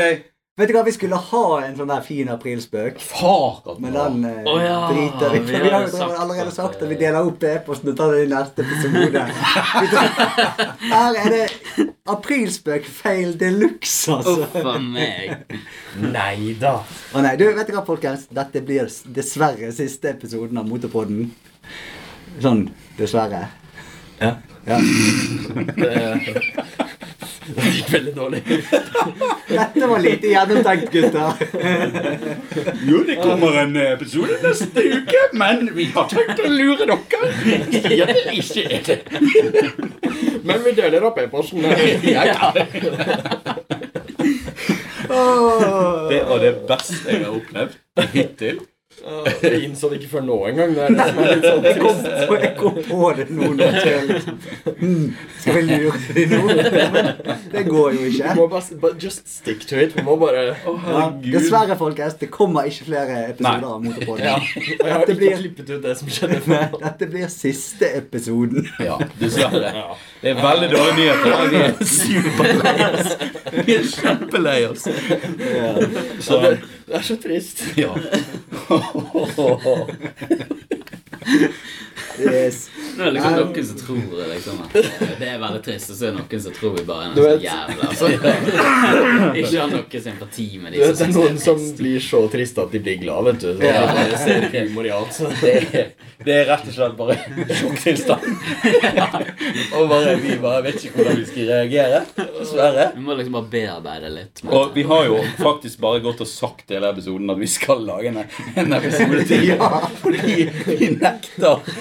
S1: Vet du hva, vi skulle ha en sånn der fin aprilspøk,
S4: Fakat
S1: men den eh,
S2: Å ja,
S1: driter vi i.
S2: vi
S1: Vi har jo
S2: har jo
S1: drevet-
S2: sagt
S1: allerede
S2: at,
S1: sagt at vi
S2: eh,
S1: deler opp e-posten og tar det i neste episode. Vi tar- Her er det aprilspøk fail de luxe, altså.
S2: Uff a meg.
S3: Nei da.
S1: Å nei, du, vet du hva, folkens? Dette blir s- dessverre siste episoden av Motorpodden. Sånn, dessverre.
S3: Ja.
S1: Ja.
S3: Det, det gikk veldig dårlig.
S1: Dette var lite gjennomtenkt, gutter.
S4: Jo, det kommer en episode neste uke, men vi har tenkt å lure dere. Ja, det er ikke det.
S3: Men vi deler opp e-posten.
S1: Åh.
S4: Det var det beste jeg har opplevd hittil.
S3: Jeg innså det ikke før nå engang. Det er det som er litt sånn
S1: Jeg kom, på, jeg kom på det nå. nå tror jeg liksom. Hmm, skal vi lure dem nå? Det går jo
S3: Vi
S1: ikke.
S3: må bare, bare just stick to it. Vi må bare
S1: Ja, dessverre, folkens. Det kommer ikke flere
S4: Nei.
S1: episoder av
S3: ja.
S1: Motorpodden.
S3: Jeg har
S1: Dette blir-
S3: ikke klippet ut det som skjedde
S1: Nei,
S3: før.
S1: Dette blir siste episoden.
S4: Ja, dessverre.
S3: Ja.
S4: Det er veldig dårlige nyheter. Vi er superlei oss. Vi er kjempelei oss. Så,
S3: Det, det er så trist.
S4: ja.
S1: Yes.
S2: Nå er det liksom noen som tror det, liksom. At eh, det er veldig trist, og så er det noen som tror vi bare er
S3: Du
S2: noen
S3: vet-
S2: sånn jævla altså. Ikke har noe sympati med
S3: Du
S2: de
S3: vet, det
S2: som
S3: er
S2: synes
S3: noen
S2: det
S3: som
S2: er trist.
S3: blir så triste at de blir glad, vet du. Så
S1: Ja.
S3: de bare ser humor i alt. Så.
S4: Det er, det er rett og slett bare sjokktilstand. Og bare, vi bare vet ikke hvordan vi skal reagere. Dessverre.
S2: Vi må liksom bare bearbeide litt. med
S4: Og
S2: det.
S4: vi har jo faktisk bare gått og sagt i hele episoden at vi skal lage en, en episode til.
S1: Ja.
S4: Fordi vi nekter.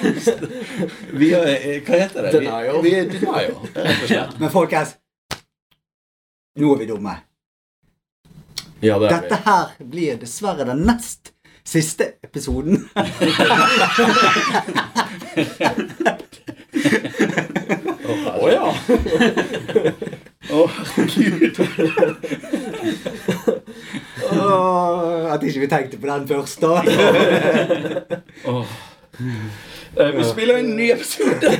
S4: Vi er, eh, hva heter det? Vi-
S3: Denial.
S4: Vi er denial. rett og slett.
S1: Men folkens, nå er vi dumme.
S3: Ja, det er
S1: Dette
S3: vi.
S1: her blir dessverre den nest siste episoden.
S3: Å ja.
S4: Å, herregud.
S1: Åh, at ikke vi tenkte på den først, da.
S4: Åh. Eh, Vi spiller en ny episode.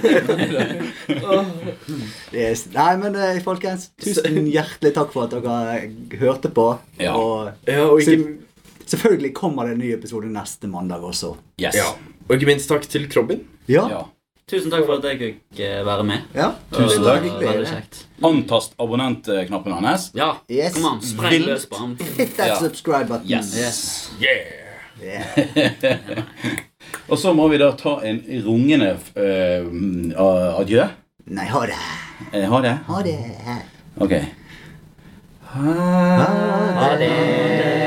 S1: Yes. Nei, men eh, folkens, tusen hjertelig takk for at dere hørte på.
S4: Ja.
S1: Og
S3: ja og, ikke,
S1: selvfølgelig kommer det en ny episode neste mandag også.
S4: Yes.
S3: ja. og ikke minst takk til Krobin.
S1: Ja,
S4: Ja.
S2: Tusen takk for at jeg fikk eh, være med.
S1: Ja,
S4: Tusen
S2: Det var
S4: takk.
S2: Veldig kjekt.
S4: Antast abonnentknappen hans.
S2: Ja,
S1: Yes.
S2: kom an, spreng
S4: Vilt.
S2: løs på ham.
S1: Hit that
S4: Ja.
S1: subscribe button.
S4: Yes.
S2: Yes.
S4: Yeah.
S1: Yeah.
S4: Og så må vi da ta en rungende eh, adjø.
S1: Nei, ha det.
S4: Eh, Ha det.
S1: Ha det.
S4: Ok. Ha
S2: Ha det.